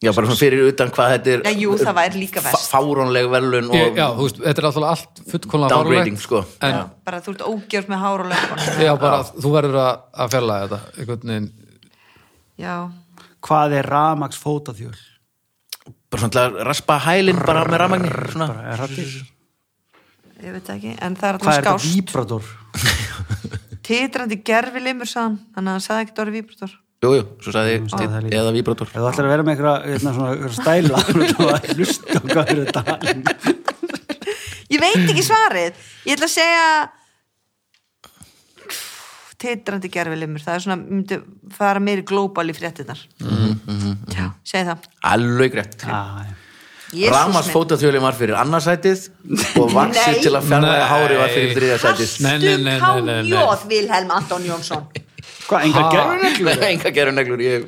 S1: Já, bara svona fyrir utan hvað þetta er
S3: Já, jú, það væri líka verst.
S1: fá- Fárónleg verðlun og
S2: ég, já, þú veist, þetta er alltaf allt fullkomlega
S1: Downgrading,
S2: fáránlegt,
S1: sko.
S2: en já.
S3: bara þú ert ógjörð með hár og löfbónu
S2: bara, þú verður að, að fjalla þetta einhvern veginn,
S3: Já,
S4: Hvað er ramags fótaþjöl?
S1: bara svona til að raspa hælinn bara með rafmagni svona.
S4: Bara er hattir
S3: ég veit það ekki, en það er
S4: Hvað
S3: alltaf
S4: er þetta
S3: skást
S4: víbrator?
S3: titrandi gerfi limur sann þannig að hann sagði ekkert orðið víbrator
S1: Jú, jú, svo sagði ég
S4: það er
S1: steinn
S4: líka.
S1: eða víbrator
S4: Ef þú ætlar að vera með einhverja hérna, svona, einhverja stæla þú ætlar að hlusta á hvað er þetta
S3: ég veit ekki svarið, ég ætla að segja titrandi gerfi limur það er svona, myndi fara meiri glóbal í fréttinar mm -hmm. segi það
S1: Alveg rétt
S3: Jesús
S1: Ramas
S3: minn.
S1: fótaþjólin var fyrir annarsætið og vaksið
S3: Nei.
S1: til að fjarlæga
S2: Nei.
S1: hári var fyrir þriðarsætið
S2: Nei, nei, nei,
S3: Hastu
S2: nei, nei, nei.
S3: kájóð Vilhelm Anton Jónsson
S4: Hvað, enga
S2: Ha?
S4: gerðineglu?
S1: Nei, enga geruneglur, ég,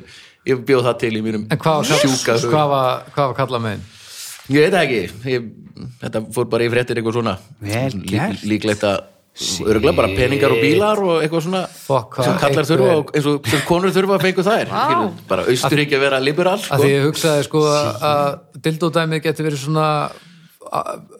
S1: ég bjóð það til í mínum
S2: en hvað var,
S1: sjúka
S2: kall,
S1: hug.
S2: hvað var, hvað var kalla meginn
S1: Ég veit það ekki, ég, þetta fór bara í fréttir eitthvað svona
S4: Vel
S1: Lí-
S4: gert.
S1: Líklegt að örgulega bara peningar og bílar og eitthvað svona
S2: Fuck, hvað
S1: sem kallar
S2: einhver-
S1: þurfa og eins og sem konur þurfa að fengu þær
S3: Vá.
S1: wow. bara austuríkja vera liberal sko.
S2: að því ég hugsaði sko að dildódæmið geti verið svona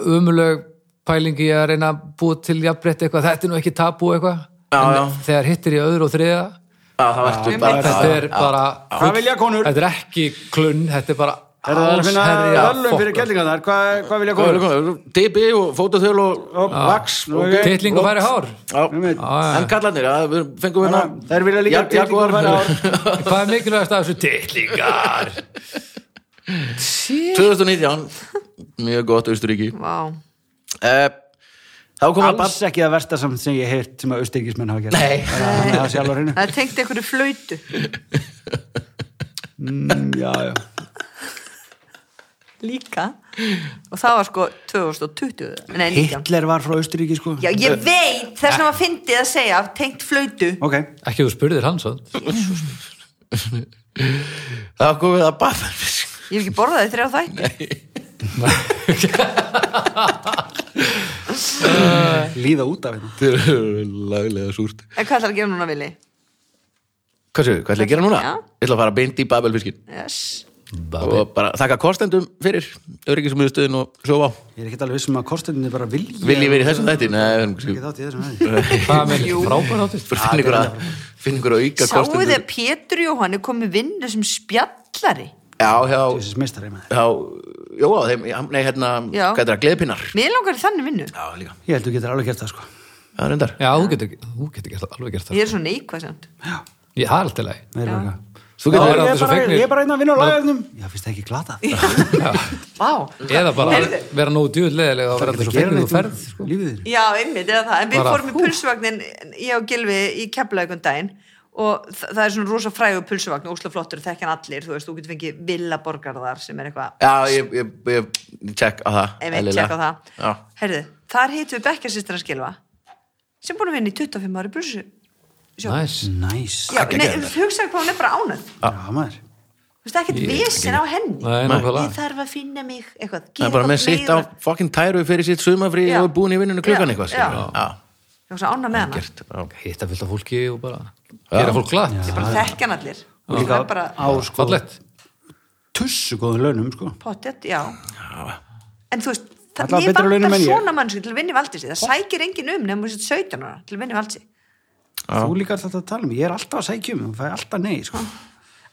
S2: umulög pælingi að reyna að búa til jafnbreytti eitthvað, þetta er nú ekki tabú eitthvað
S1: Já,
S2: en
S1: já.
S2: þegar hittir í öðru og þriða
S1: að Ah, það verður bara
S2: þetta er bara
S4: Hvað vilja konur?
S2: þetta er ekki klunn, þetta er bara
S4: Er það að finna
S2: allsherja
S4: verðlum fyrir
S2: fokk.
S4: kellingarnar? Hvað, hvað vilja
S1: Góður,
S4: konur?
S1: góður. Dipi og fótaþöl og
S4: Og Vax
S1: og-
S4: ok.
S2: titling og færi hár
S1: Já.
S4: Einmitt.
S2: já.
S1: en kallarnir, að við fengum
S4: Þannig
S1: hérna
S4: að Þær vilja líka
S1: Jag-
S4: titling og
S1: Jaguar.
S4: fara ár.
S2: hvað er mikilvægast af þessu titlingar
S1: 2019 mjög gott austuríki
S3: Vá.
S1: uh, þá komum að
S4: Alls ekki að versta samt sem ég heirt sem að austengismenn hafa gert.
S1: Nei.
S4: Þannig að hann er að sjálfa hreinu.
S3: Það er tengt einhverju flöytu
S4: Mm, Já, já.
S3: líka og það var sko 2020 Nei, 19.
S4: Hitler var frá Austuríki, sko.
S3: Já, ég veit, þess að maður fyndið að segja tengt flöytu
S4: Ok.
S2: ekki þú spurðir hans svo.
S1: þá komum við að Bafan
S3: Ég hef ekki borðað þið þrjá þætti
S4: Líða út af hérna.
S1: Þetta er laglega súrt
S3: En hvað ætlar að gera núna, Vili?
S1: Hvað séu, hvað ætla ég að gera núna?
S3: Já.
S1: Ég ætla að fara beint í Babelfiskin
S3: Yes.
S1: og bara þakka kostendum fyrir öryggismiðstöðin og sofa á
S4: Ég er ekki alveg vissum að kostendin er bara vilja.
S1: Vil ég verið í þessu þætti? Nei, við erum
S4: Ekki
S1: kannski-
S4: þátt í þessum aðeins.
S2: það með frábæð áttist
S1: Bara finn ykkur að finn ykkur að auka
S3: Sáu þið
S1: kostendur
S3: að Pétur Jóhann er komið vinnu sem spjallari
S1: Já, hjá,
S4: Þessi meistari með.
S1: hjá Jó, á þeim, já, nei, hérna
S3: Já.
S1: Hvað er það, gleðpinnar?
S3: Mér langar í þannig vinnu
S1: Já, líka,
S4: Ég held þú getur alveg gert það, sko.
S1: það er endar
S2: já, þú getur, þú getur gert, það, alveg gert það
S3: Ég er svona neikvæð samt
S2: ég har alltaf leið
S4: Nei,
S3: Já.
S4: bara-
S2: Þú
S4: Já,
S2: getur verið
S4: ég er
S2: allir svo
S4: bara-
S2: fegnir
S4: Ég er bara einn að vinna á lagarnum. Já, finnst það ekki glatað?
S3: Vá
S2: eða bara
S3: Heyrðu.
S2: vera nógu djúðlegilega og
S4: Það
S2: vera
S4: er ekki
S2: allir svo
S4: að
S2: fegnir
S4: gera
S2: þú
S4: neitt
S2: ferð
S4: um
S2: sko.
S4: lífið þínu.
S3: Já, einmitt, eða það, en við
S2: Bara,
S3: fórum í
S2: hú.
S3: pulsuvagnin ég og Gilvi í Keflaugum daginn og þa- það er svona rosa frægur pulsuvagn og úsla flottur, þekkjan allir, þú veist, þú getur fengið villaborgar þar sem er eitthvað
S1: Já, ég, ég, ég, check á það
S3: einmitt,
S1: eðlilega.
S3: tjekka það.
S1: Já,
S3: Herðu, þar heitum við bekkjarsýstir að skilfa sem búin að vinna í 25 ári pulsu
S2: næs
S4: Næs.
S3: Já,
S1: Ekki
S3: nei,
S1: að gera
S3: hugsaðu hvað hún er bara ánæð
S4: Já, maður.
S3: Þú veist, ekkert vesen á henni
S2: Nei, nákvæmlega.
S3: Ég þarf að finna mig, eitthvað
S1: það er bara með sitt á fucking tæru fyrir sitt sumafrí
S3: Já.
S1: og er búin í vinnunni klukkan
S3: Já,
S1: eitthvað
S3: já.
S1: skilur. Já,
S3: Ána með hana,
S1: gert já.
S2: hitta fullt af fólki og bara gera fólk glatt
S3: ég bara þekkjan allir
S4: Og líka
S3: Það er bara-
S4: á, sko,
S2: fallett
S4: tussu góðum launum, sko.
S3: Pottet, já. En þú veist, það,
S4: Alla
S3: mér
S4: betra launin
S3: vantar
S4: en ég.
S3: svona mannsku til að vinna í valdísi. Það sækir engin um nefnum þessi 17 ára til að vinna í valdísi.
S4: Þú líka alltaf að tala um, ég er alltaf að sækja um, það fæ alltaf nei, sko.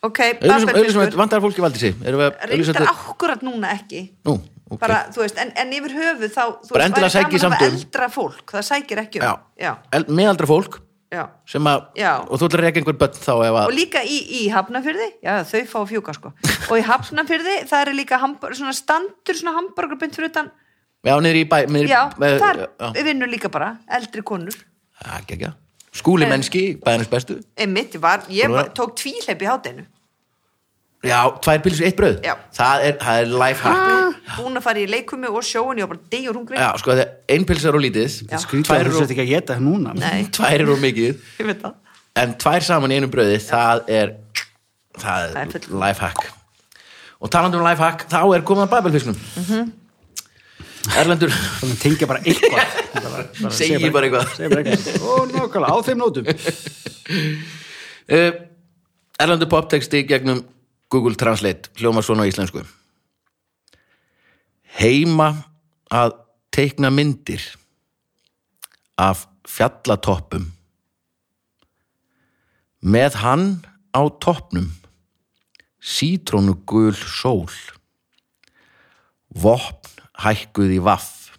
S3: Ok,
S1: Auðlýsum, auðlýsum,
S3: Babelfiskur,
S1: vantar fólki valdi sig Erum við að auglýsa
S3: reyndar
S1: þetta-
S3: akkurat núna ekki.
S1: Nú, ok.
S3: Bara, þú veist, en, en yfir höfuð þá, þú
S1: Bara endilega
S3: væri
S1: sækið
S3: gaman
S1: samt
S3: að
S1: um.
S3: eldra fólk, það sækir ekki um.
S1: já.
S3: Já,
S1: El, meðaldra fólk
S3: já.
S1: sem að,
S3: Já.
S1: og þú ætlar að reka einhver börn þá ef
S3: Og
S1: að,
S3: líka í, í Hafnafyrði, já, þau fá að fjúka, sko. Og í Hafnafyrði, það er líka hambor, svona standur, svona hamburgarbynd fyrir utan,
S1: já, niður í bæ niður,
S3: já,
S1: með,
S3: þar
S1: já,
S3: vinnur líka bara, eldri konur.
S1: já, ekki, ekki. skúli
S3: Eh.
S1: mennski, bæðinnes bestu
S3: Einmitt, ég var, ég
S1: Búin að
S3: var,
S1: vera-
S3: tók tvíhleip í hátinu
S1: já, tvær pilsur, eitt brauð
S3: Já.
S1: það er, það er life hack
S3: búin að fara í leikumi og sjóun ég var bara degjur hungri
S1: já, sko, það er ein pilsar og lítið
S4: Skrítið að
S1: tvær
S4: þú
S1: og,
S4: sett ekki að geta það núna.
S3: Nei,
S1: tvær og mikið
S3: ég veit það
S1: en tvær saman í einu brauði, það er það
S3: Það er
S1: er
S3: full-
S1: life hack og talandi um life hack, þá er komið að bæbelfisknum
S3: Mhm.
S1: Erlendur
S4: Þannig að tengja bara eitthvað. Bara- bara-
S1: Segir
S4: segja
S1: bara eitthvað.
S4: Segir bara eitthvað. Ó, nákvæmlega, á þeim nótum.
S1: uh, Erlendur poptexti gegnum Google Translate hljóma svona á íslensku heima að teikna myndir af fjallatoppum með hann á toppnum sítrónugul sól vopn hækkuð í vaff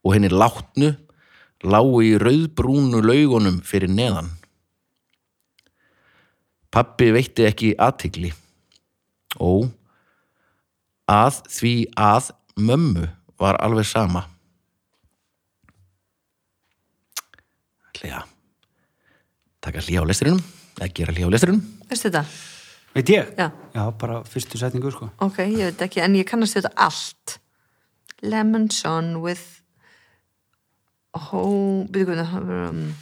S1: og henni látnu lágu í rauðbrúnu laugunum fyrir neðan Pappi veitti ekki aðtigli. Ó, að því að mömmu var alveg sama. Ætli að taka hlý á lestrinum, eða gera hlý á lestrinum.
S3: Veistu þetta?
S4: Veit ég?
S3: Já.
S4: Já, bara fyrstu setningu, sko.
S3: Ok, ég veit ekki, en ég kannast við þetta allt Lemon Sun with home byrju, hvað, um,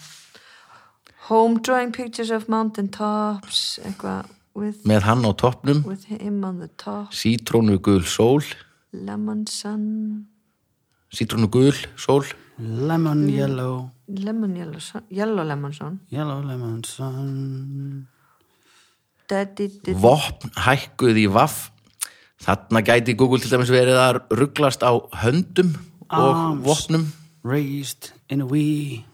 S3: home drawing pictures of mountain tops eitthvað with,
S1: Með hann á toppnum,
S3: with him on the top
S1: sítrónu gul sól,
S3: lemon sun
S1: sítrun og gul, sól
S3: Mm.
S4: Lemon yellow
S3: Lemon Yellow, Sun- yellow Lemon Sun
S4: Yellow lemon sun
S3: Daddy did
S1: vopn hækkuð í vaff þarna gæti Google til dæmis verið að rugglast á höndum og
S4: Arms.
S1: vopnum
S4: Raised in a wee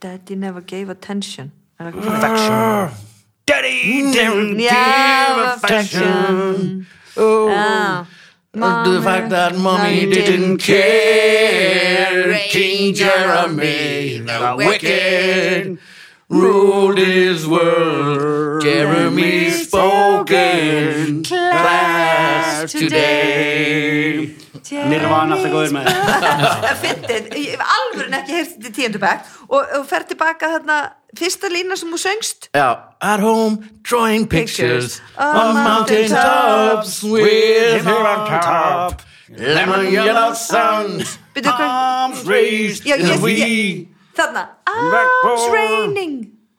S3: Daddy never gave attention Er það ekki svona?
S1: Daddy, never
S3: Mm. Yeah, Mm.
S1: give affection
S3: Já.
S1: The fact that mommy didn't care King Jeremy the wicked Ruled his world Jeremy spoken Class today
S4: Nirvana alltaf góður með það.
S3: Fyndið, ég hef alveg ekki heyrt þetta í tíundu bekk og, og fer tilbaka þarna fyrsta lína sem hún söngst
S1: Já, at home drawing pictures on
S3: On
S1: mountain
S3: mountain
S1: tops with her on top
S4: top.
S1: lemon yellow suns
S3: Byrju, hvað-
S4: Arms raised
S3: Já,
S4: in a
S3: ég-
S4: wee
S3: þarna, arms
S4: Backbone.
S3: raining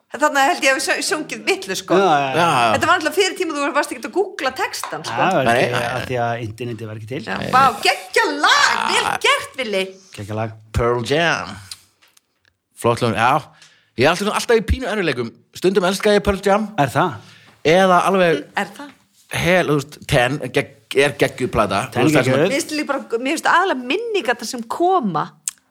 S3: þarna held ég að við söng- sungið villu sko
S4: Já, já,
S1: Já,
S3: þetta var alltaf fyrir tíma þú varst ekki að googla textan sko.
S4: Það var
S1: Nei,
S4: ekki
S1: nei.
S4: að því að interneti var ekki til
S3: Já, vá, geggja lag, vel gert villi
S4: Kekja lag
S1: Pearl Jam Flott lögum, já Ég er alltaf, svona- alltaf í pínu erfiðleikum Stundum elska ég Pearl Jam
S4: Er það?
S1: Eða alveg
S3: er það?
S1: hel, þú veist, ten gegg, Er geggjuplata Þú
S4: Ten
S1: veist, það sem-
S4: geggjuð.
S3: Mér finnst líka bara, mér finnst aðalega minningar það sem koma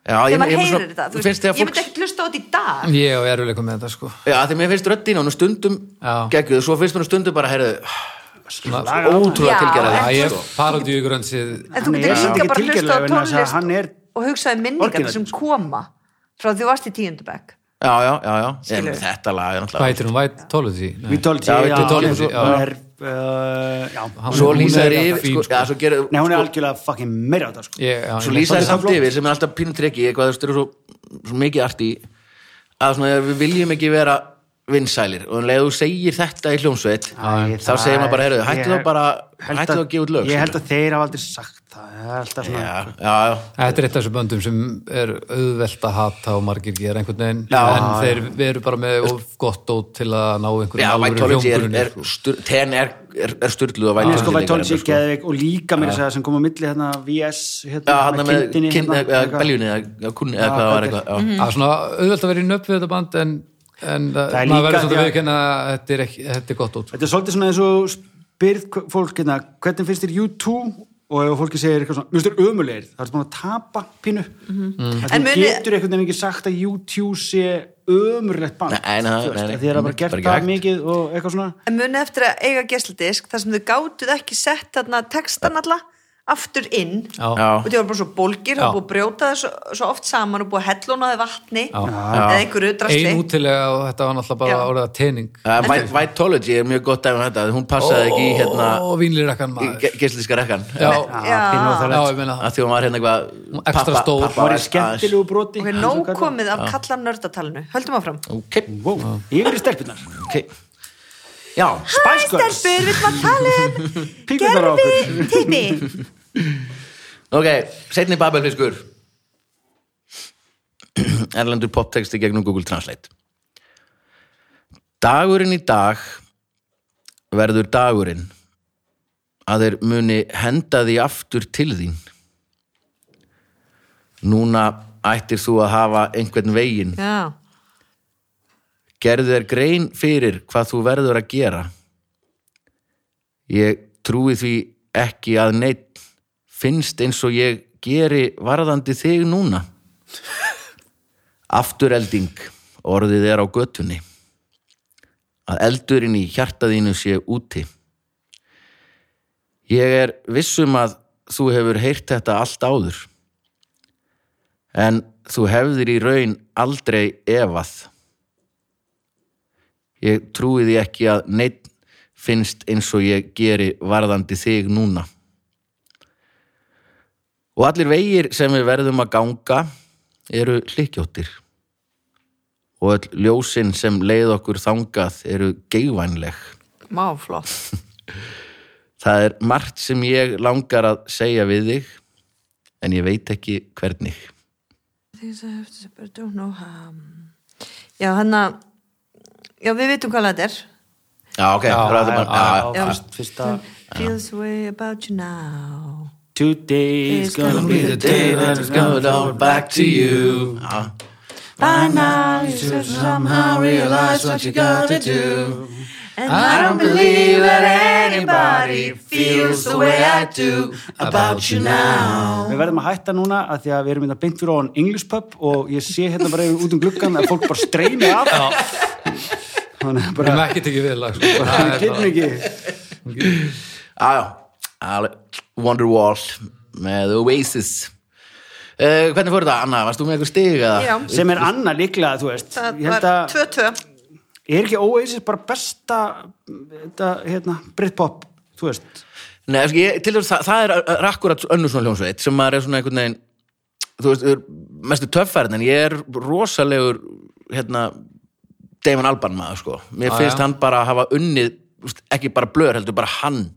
S1: Já, Ah, ég- ég-
S3: þegar maður
S1: ég-
S3: heyrir
S1: svona-
S3: þetta þú
S1: þú
S3: veist,
S1: finnst þegar
S3: ég
S1: fólk-
S3: myndi ekkert hlusta á þetta í dag
S2: Ég á eruleikum með þetta sko
S1: Já, því mér finnst röddín og hún stundum
S2: Já.
S1: geggjuð Svo finnst mér stundum bara, heyrðu
S2: Svona-
S4: Lag á það.
S1: Ótrúlega
S3: Já,
S1: tilgerðið
S2: Já,
S3: en-
S2: ég parodíu grönsið
S3: En þú
S4: Hann er
S3: getur
S4: samt
S3: líka
S4: ekki
S3: bara hlusta á
S4: tilgerðlegur vegna þess að
S3: tónlist
S4: hann er
S3: og hugsaði minningar
S4: orginal,
S3: sem koma frá því þú varst í tíundabæk
S1: Já, já, já, já Ég-
S3: Skilurðu?
S1: Þetta lag er náttúrulega
S2: Vætir hún væt tóluði
S4: Vitoldi
S1: Já, Vitality,
S2: já.
S4: Hún er uh, Já
S1: Svo
S2: Hún er
S1: lýsa þér
S2: alltaf
S1: yfir
S2: fín,
S1: sko,
S2: sko.
S1: já, svo gerir,
S4: Nei, hún er
S1: sko,
S4: algjörlega fucking meira á þetta sko
S1: svo lýsa þér samt yfir sem er alltaf pínu trekki eitthvað þú veist, eru svo, svo mikið art í að svona, við viljum ekki vera vinsælir og en leið þú segir þetta í hljómsveit
S4: Æ,
S1: þá
S4: það
S1: segir maður bara, heyrðu, hættu
S4: ég-
S1: þá bara
S4: held
S1: hættu þá að gefa út lög
S4: Ég held
S1: skilurðu.
S4: að þeir hafa aldrei sagt það Það er alltaf svona
S1: já, já, já,
S2: Þetta er eitt af þessu böndum sem er auðvelt að hata og margir gera einhvern veginn
S1: Já.
S2: en þeir eru bara með of gott dót til að ná einhverjum
S1: já
S2: alvöru
S1: Vitology er,
S2: hljómgrunni,
S1: er,
S2: sko.
S1: stur, ten er, er, er sturluð og
S4: Nei, sko,
S1: Vitology
S4: Vitoldi
S1: líka er- sko.
S4: Geðvik og líka mér að segja sem kom á milli hérna VS
S1: já,
S4: hérna
S1: hann með
S4: kindinni,
S1: kyn-
S4: hérna,
S1: eða
S4: eitthvað.
S1: beljunni eða kunni eða hvað það var eitthvað já.
S2: Það er svona auðvelt að vera í nöpp við þetta band en, en það
S4: er
S2: maður
S4: líka
S2: verður svolítið
S4: því
S2: að
S4: að-
S2: viðkenna að þetta er, ekki, þetta er gott sko. út
S4: Þetta er svolítið svona eins og spyrð hv- fólk hérna, hvernig finnst þér U2 og ef fólki segir eitthvað svona, mjög þér ömulegir það er búin að tapa pínu
S1: Mhm.
S4: það
S3: En
S4: mm.
S3: muni-
S4: getur einhvern veginn ekki sagt að U2 sé ömulegt band
S1: Nei, nei,
S4: þú veist,
S1: nei, nei,
S4: af því það er
S1: nei,
S4: bara gert
S1: bara ekki hægt.
S4: það mikið og eitthvað svona
S3: en muni eftir að eiga gesludisk þar sem þau gátuð ekki sett þarna textan alla aftur inn
S2: Já.
S1: Já.
S3: og þau var bara svo bólgir
S2: Já.
S3: og búið að brjóta það svo, svo oft saman og búið að hellónaði vatni
S2: Já.
S3: eða einhverju drasli
S2: Ein útilega og þetta var náttúrulega bara
S3: Já.
S2: orðið að tening
S1: Já, Vit- Vitology er mjög gott dæmi um þetta hún passaði ekki í hérna
S2: Ó, vínlirakkan
S1: í
S2: maður
S1: ge- geislíska rekkan
S2: Oh Já,
S4: Já, pínu
S2: já,
S4: óþægilegt.
S2: ég meina það
S1: að því hún var hérna eitthvað
S2: Hún var extra
S1: pappa-
S2: stór.
S1: pappa
S2: Hún
S4: var í
S1: aðeins-
S4: skemmtilegu broti
S3: ok, nóg komið af kallar nördatalinu höldum áfram
S1: ok,
S4: wow. yfir í stelpunar
S1: ok já,
S3: Hæ
S4: Spice Girls,
S3: stelpur, við maður tala um
S4: píkunar á
S3: gerfi
S4: okkur
S3: tími
S1: ok, setni babelfiskur erlendur poptexti gegnum Google Translate dagurinn í dag verður dagurinn að þeir muni henda því aftur til þín núna ættir þú að hafa einhvern veginn
S3: já,
S1: Gerðu þér grein fyrir hvað þú verður að gera. Ég trúi því ekki að neitt finnst eins og ég geri varðandi þig núna. Afturelding, orðið er á götunni. Að eldurinn í hjartaðínu sé úti. Ég er vissum að þú hefur heyrt þetta allt áður. En þú hefðir í raun aldrei efað. Ég trúi því ekki að neitt finnst eins og ég geri varðandi þig núna. Og allir vegir sem við verðum að ganga eru hlykkjóttir. Og öll ljósin sem leið okkur þangað eru geigvænleg.
S3: máflott
S1: Það er margt sem ég langar að segja við þig, en ég veit ekki hvernig.
S3: Things I have to but don't know how. Já, hann að Já, við veitum hvað þetta er
S1: Já, ok. Já,
S2: Já,
S1: já, já, já,
S3: Ah.
S4: Já, fyrst- fyrsta
S3: Feels the way about you now
S4: Today is gonna be the day that is
S1: coming
S4: gonna
S1: all back to you
S3: By now you should somehow realize what you gotta do And I don't believe that anybody feels the way I do
S2: about you now
S4: Við verðum að hætta núna að því að við erum hérna beint fyrir á hann English pub og ég sé hérna bara yfir út um gluggan að fólk bara streymi af Þannig að
S2: Við
S4: bara,
S2: erum ekki tekið vel að sko. Það
S4: við
S2: er
S4: kynum
S2: bara-
S4: ekki
S1: Já, já, Ah, Wonderwall með Oasis uh, Hvernig fór þetta, Anna? Varst þú með einhver stig? eða?
S3: Já,
S4: sem er annað líklega, þú veist
S3: það
S4: Ég
S3: var
S4: held að,
S3: 2-2
S4: er ekki Oasis bara besta þetta, hérna, Britpop þú veist,
S1: Nei, sko, ég, til þess að það er akkurat önnur svona hljómsveit sem maður er svona einhvern veginn þú veist, er mestu töffærin en ég er rosalegur hérna, Damon Alban maður sko mér
S2: Já,
S4: Ah,
S1: finnst
S2: já.
S1: hann bara að hafa unnið þú veist, ekki bara blöður heldur bara hann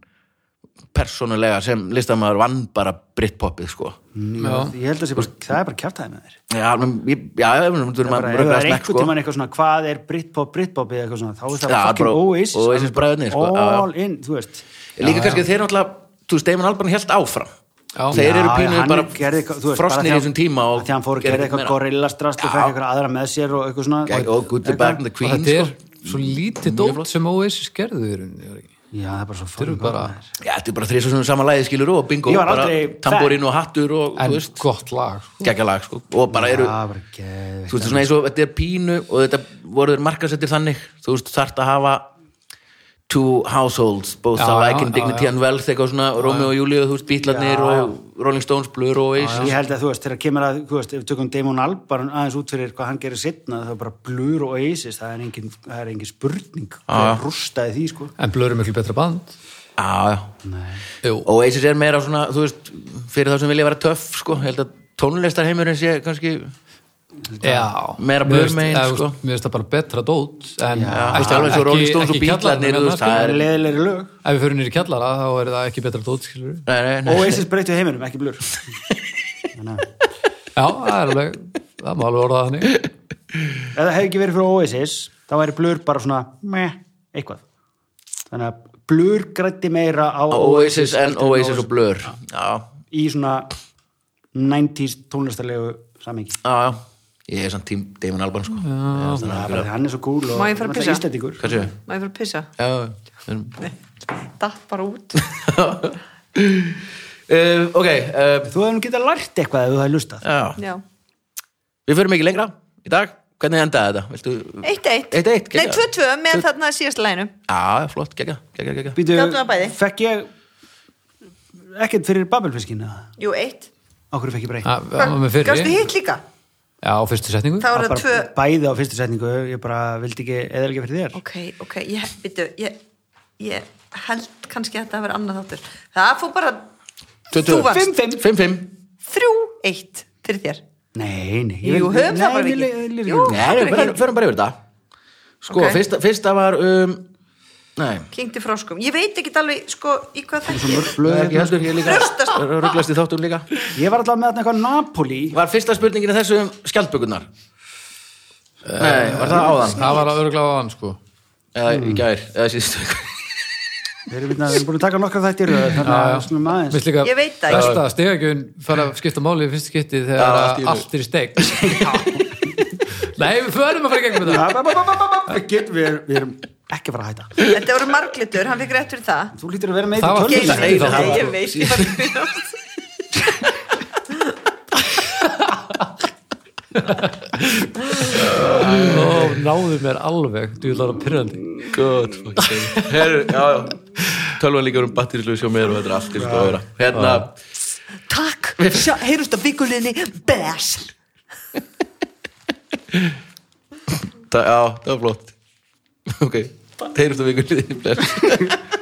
S1: persónulega sem listamaður vann bara Britpopið sko
S2: Já.
S4: ég held að sé bara, það er bara kjáftæði með þér
S1: Já, menn, ég- já, ef við þurfum
S4: bara,
S1: að
S4: ef það
S1: röglega
S4: er
S1: smekk
S4: einhvern
S1: sko
S4: tímann eitthvað svona hvað er Britpop, Britpop eða eitthvað svona, þá er það
S1: Já,
S4: bara fucking
S1: bara
S4: Oasis
S1: Oasis
S4: alveg bara
S1: bræðurnir, sko, já, já.
S4: all in, þú veist
S1: Líka kannski þeir náttúrulega, þú veist, Damon Alban held áfram
S2: Já.
S1: Þeir eru
S4: Já,
S1: pínu
S4: hann
S1: bara
S4: gerði eitthvað- þú veist, bara
S1: frosnir í
S4: þegar-
S1: þessum tíma og
S4: Þegar hann fór að
S1: gerði
S4: gera
S1: ekkert
S4: eitthvað
S1: meira.
S4: gorillasdrast og
S1: Já.
S4: fekk eitthvað aðra með sér og eitthvað svona
S1: Gæ- og Good, the Bad and the
S2: Og
S1: Queen
S2: þetta er
S1: sko.
S2: svo lítið dótt sem Oasis gerðu í rauninni, er ekki?
S4: Já, það er bara svo
S2: Þeir eru
S4: fórum
S2: bara
S1: Já, þetta er bara þrið svona saman lagi skilur og bingo,
S4: Ég var
S1: bara
S4: aldrei fan.
S1: tamborín og hattur og, þú
S2: en
S1: veist,
S2: gott lag sko.
S1: geggja lag, sko og bara eru,
S4: Já, bara geðveikt.
S1: þú veist, svona eins og þetta er pínu og þetta voru þeir markasettir þannig þú veist, þarft að hafa two households, both
S2: Já,
S1: alike
S2: já,
S1: in
S2: já,
S1: dignity
S2: já.
S1: and wealth, eitthvað svona Romeo og Júlíu, þú veist, Bítlarnir og Rolling Stones, Blur og Oasis
S4: Ég held að þú veist, þegar kemur að, þú veist, ef við tökum Damon Albarn aðeins út fyrir hvað hann gerir sittna það er bara blur og Oasis, það er engin, það er engin spurning, það rústaði því sko.
S2: en Blur er miklu betra band
S1: Já, já,
S2: Jú.
S1: Oasis er meira svona, þú veist fyrir þá sem vilja vera töff, sko, ég held að tónlistarheimurinn sé kannski
S2: Já, Mér
S1: Meira Blur
S2: finnst-
S1: megin,
S2: eða, þú
S1: sko.
S2: veist, Mér finnst það bara betra dót en
S1: Þú veist, alveg svo Rolling Stones og Bítlarnir, þú veist, það
S4: Það
S1: er
S4: er leðilegri lög.
S2: Ef við fyrir nýri kjallara þá er það ekki betra dót skilur við.
S1: Nei, nei, nei.
S4: Oasis breyttu heiminum, ekki blur.
S2: Já, það er alveg það má alveg orða þannig
S4: Ef það hefði ekki verið fyrir Oasis, þá væri blur bara svona, meh, eitthvað. Þannig að blur grætti meira á
S1: Oasis en
S4: heldur en
S1: Oasis og Blur Já,
S4: Í svona 90s tónlistarlegu samingi.
S1: já, já Ég er samt tím Damon Alban sko
S4: Þannig að bara því hann er svo cool og
S3: Má ég fara að
S4: náttúrulega
S3: pissa?
S4: Íslendingur.
S1: Hvað séu?
S3: Má ég fyrir að pissa?
S1: Já, já.
S3: Datt bara út
S1: uh, Ok, uh,
S4: Þú hefur getað lært eitthvað ef þú hefði lustað.
S1: já
S3: Já
S1: Við förum ekki lengra í dag Hvernig endaði þetta? Viltu...
S3: 1-1
S1: Eitt, eitt,
S3: Nei,
S1: geggjað.
S3: 2-2 með þarna síðast læginu
S1: Já, flott, gegja, gegja, gegja
S4: Býtu,
S3: Gátum það bæði.
S4: fekk ég ekkert fyrir babelfiskinu
S3: Jú, 1
S4: okkur fekk ég breytt
S2: Það var með
S3: Gastu
S2: fyrri
S3: hitt líka?
S2: Já, á fyrstu setningu
S3: Þá
S4: Það
S3: er
S4: var
S3: það 2
S4: bara bæði á fyrstu setningu ég bara vildi ekki eða ekki fyrir þér
S3: Ok, ok, ég, byrju, ég, ég held kannski að þetta að vera annað þáttur. Það fór bara Þú varst.
S1: Fimm, fimm Fimm, fimm
S3: þrjú eitt fyrir þér.
S4: nei, nei,
S3: Jú, höfum það bara ekki. Jú.
S4: ekki
S1: Nei,
S3: Heldur
S1: við förum-
S3: ekki.
S1: förum bara yfir þetta Sko,
S3: Ok.
S1: fyrsta, fyrsta var um... Nei
S3: Kingdi fráskum. Ég veit ekki alveg, sko, í hvað það er.
S1: Blöð er ekki heldur, ég líka
S3: Röstast.
S1: Rugglast í þáttum líka
S4: ég var alltaf með þarna eitthvað Napoli
S1: Var fyrsta spurningin í þessu um skjaldbökunar? Nei, var það áðan?
S2: Það var að örgla á hann sko
S1: eða í gær, eða síðustu viku.
S4: við erum við erum búin að taka nokkra þættir þannig
S2: Já,
S4: að
S2: já.
S4: við slum aðeins
S2: Mér líka
S3: Ég veit það ekki.
S2: Besta stegakjöfun fara að skipta máli í fyrstu skipti
S1: Já,
S2: þegar
S1: allt í einu.
S2: að allt er í steg Nei, við förum að fara í gegnum þetta
S4: Ba, ba, ba, ba, ba, ba, ba. Við getum- við erum- við erum ekki að fara að hætta
S3: Þetta voru marglitur, hann fikk rétt fyrir það.
S4: þú lítur að vera með
S2: Það var
S4: í
S2: fyrsta
S4: tölvunni.
S2: eitt.
S3: Geir,
S1: þáttur.
S3: nei, ég veit, ég var að byrja.
S2: Ó, náðu mér alveg, þú vil ára pyrrandi
S1: God fucking Herru, já, já Tölvan líka um batteríslaus hjá mér og þetta er allt í skoðura Hérna,
S3: Takk, Sjá, heyrust á vikulinni, bless.
S1: það, já, það var flott Ok, þeirust á vikunni bless.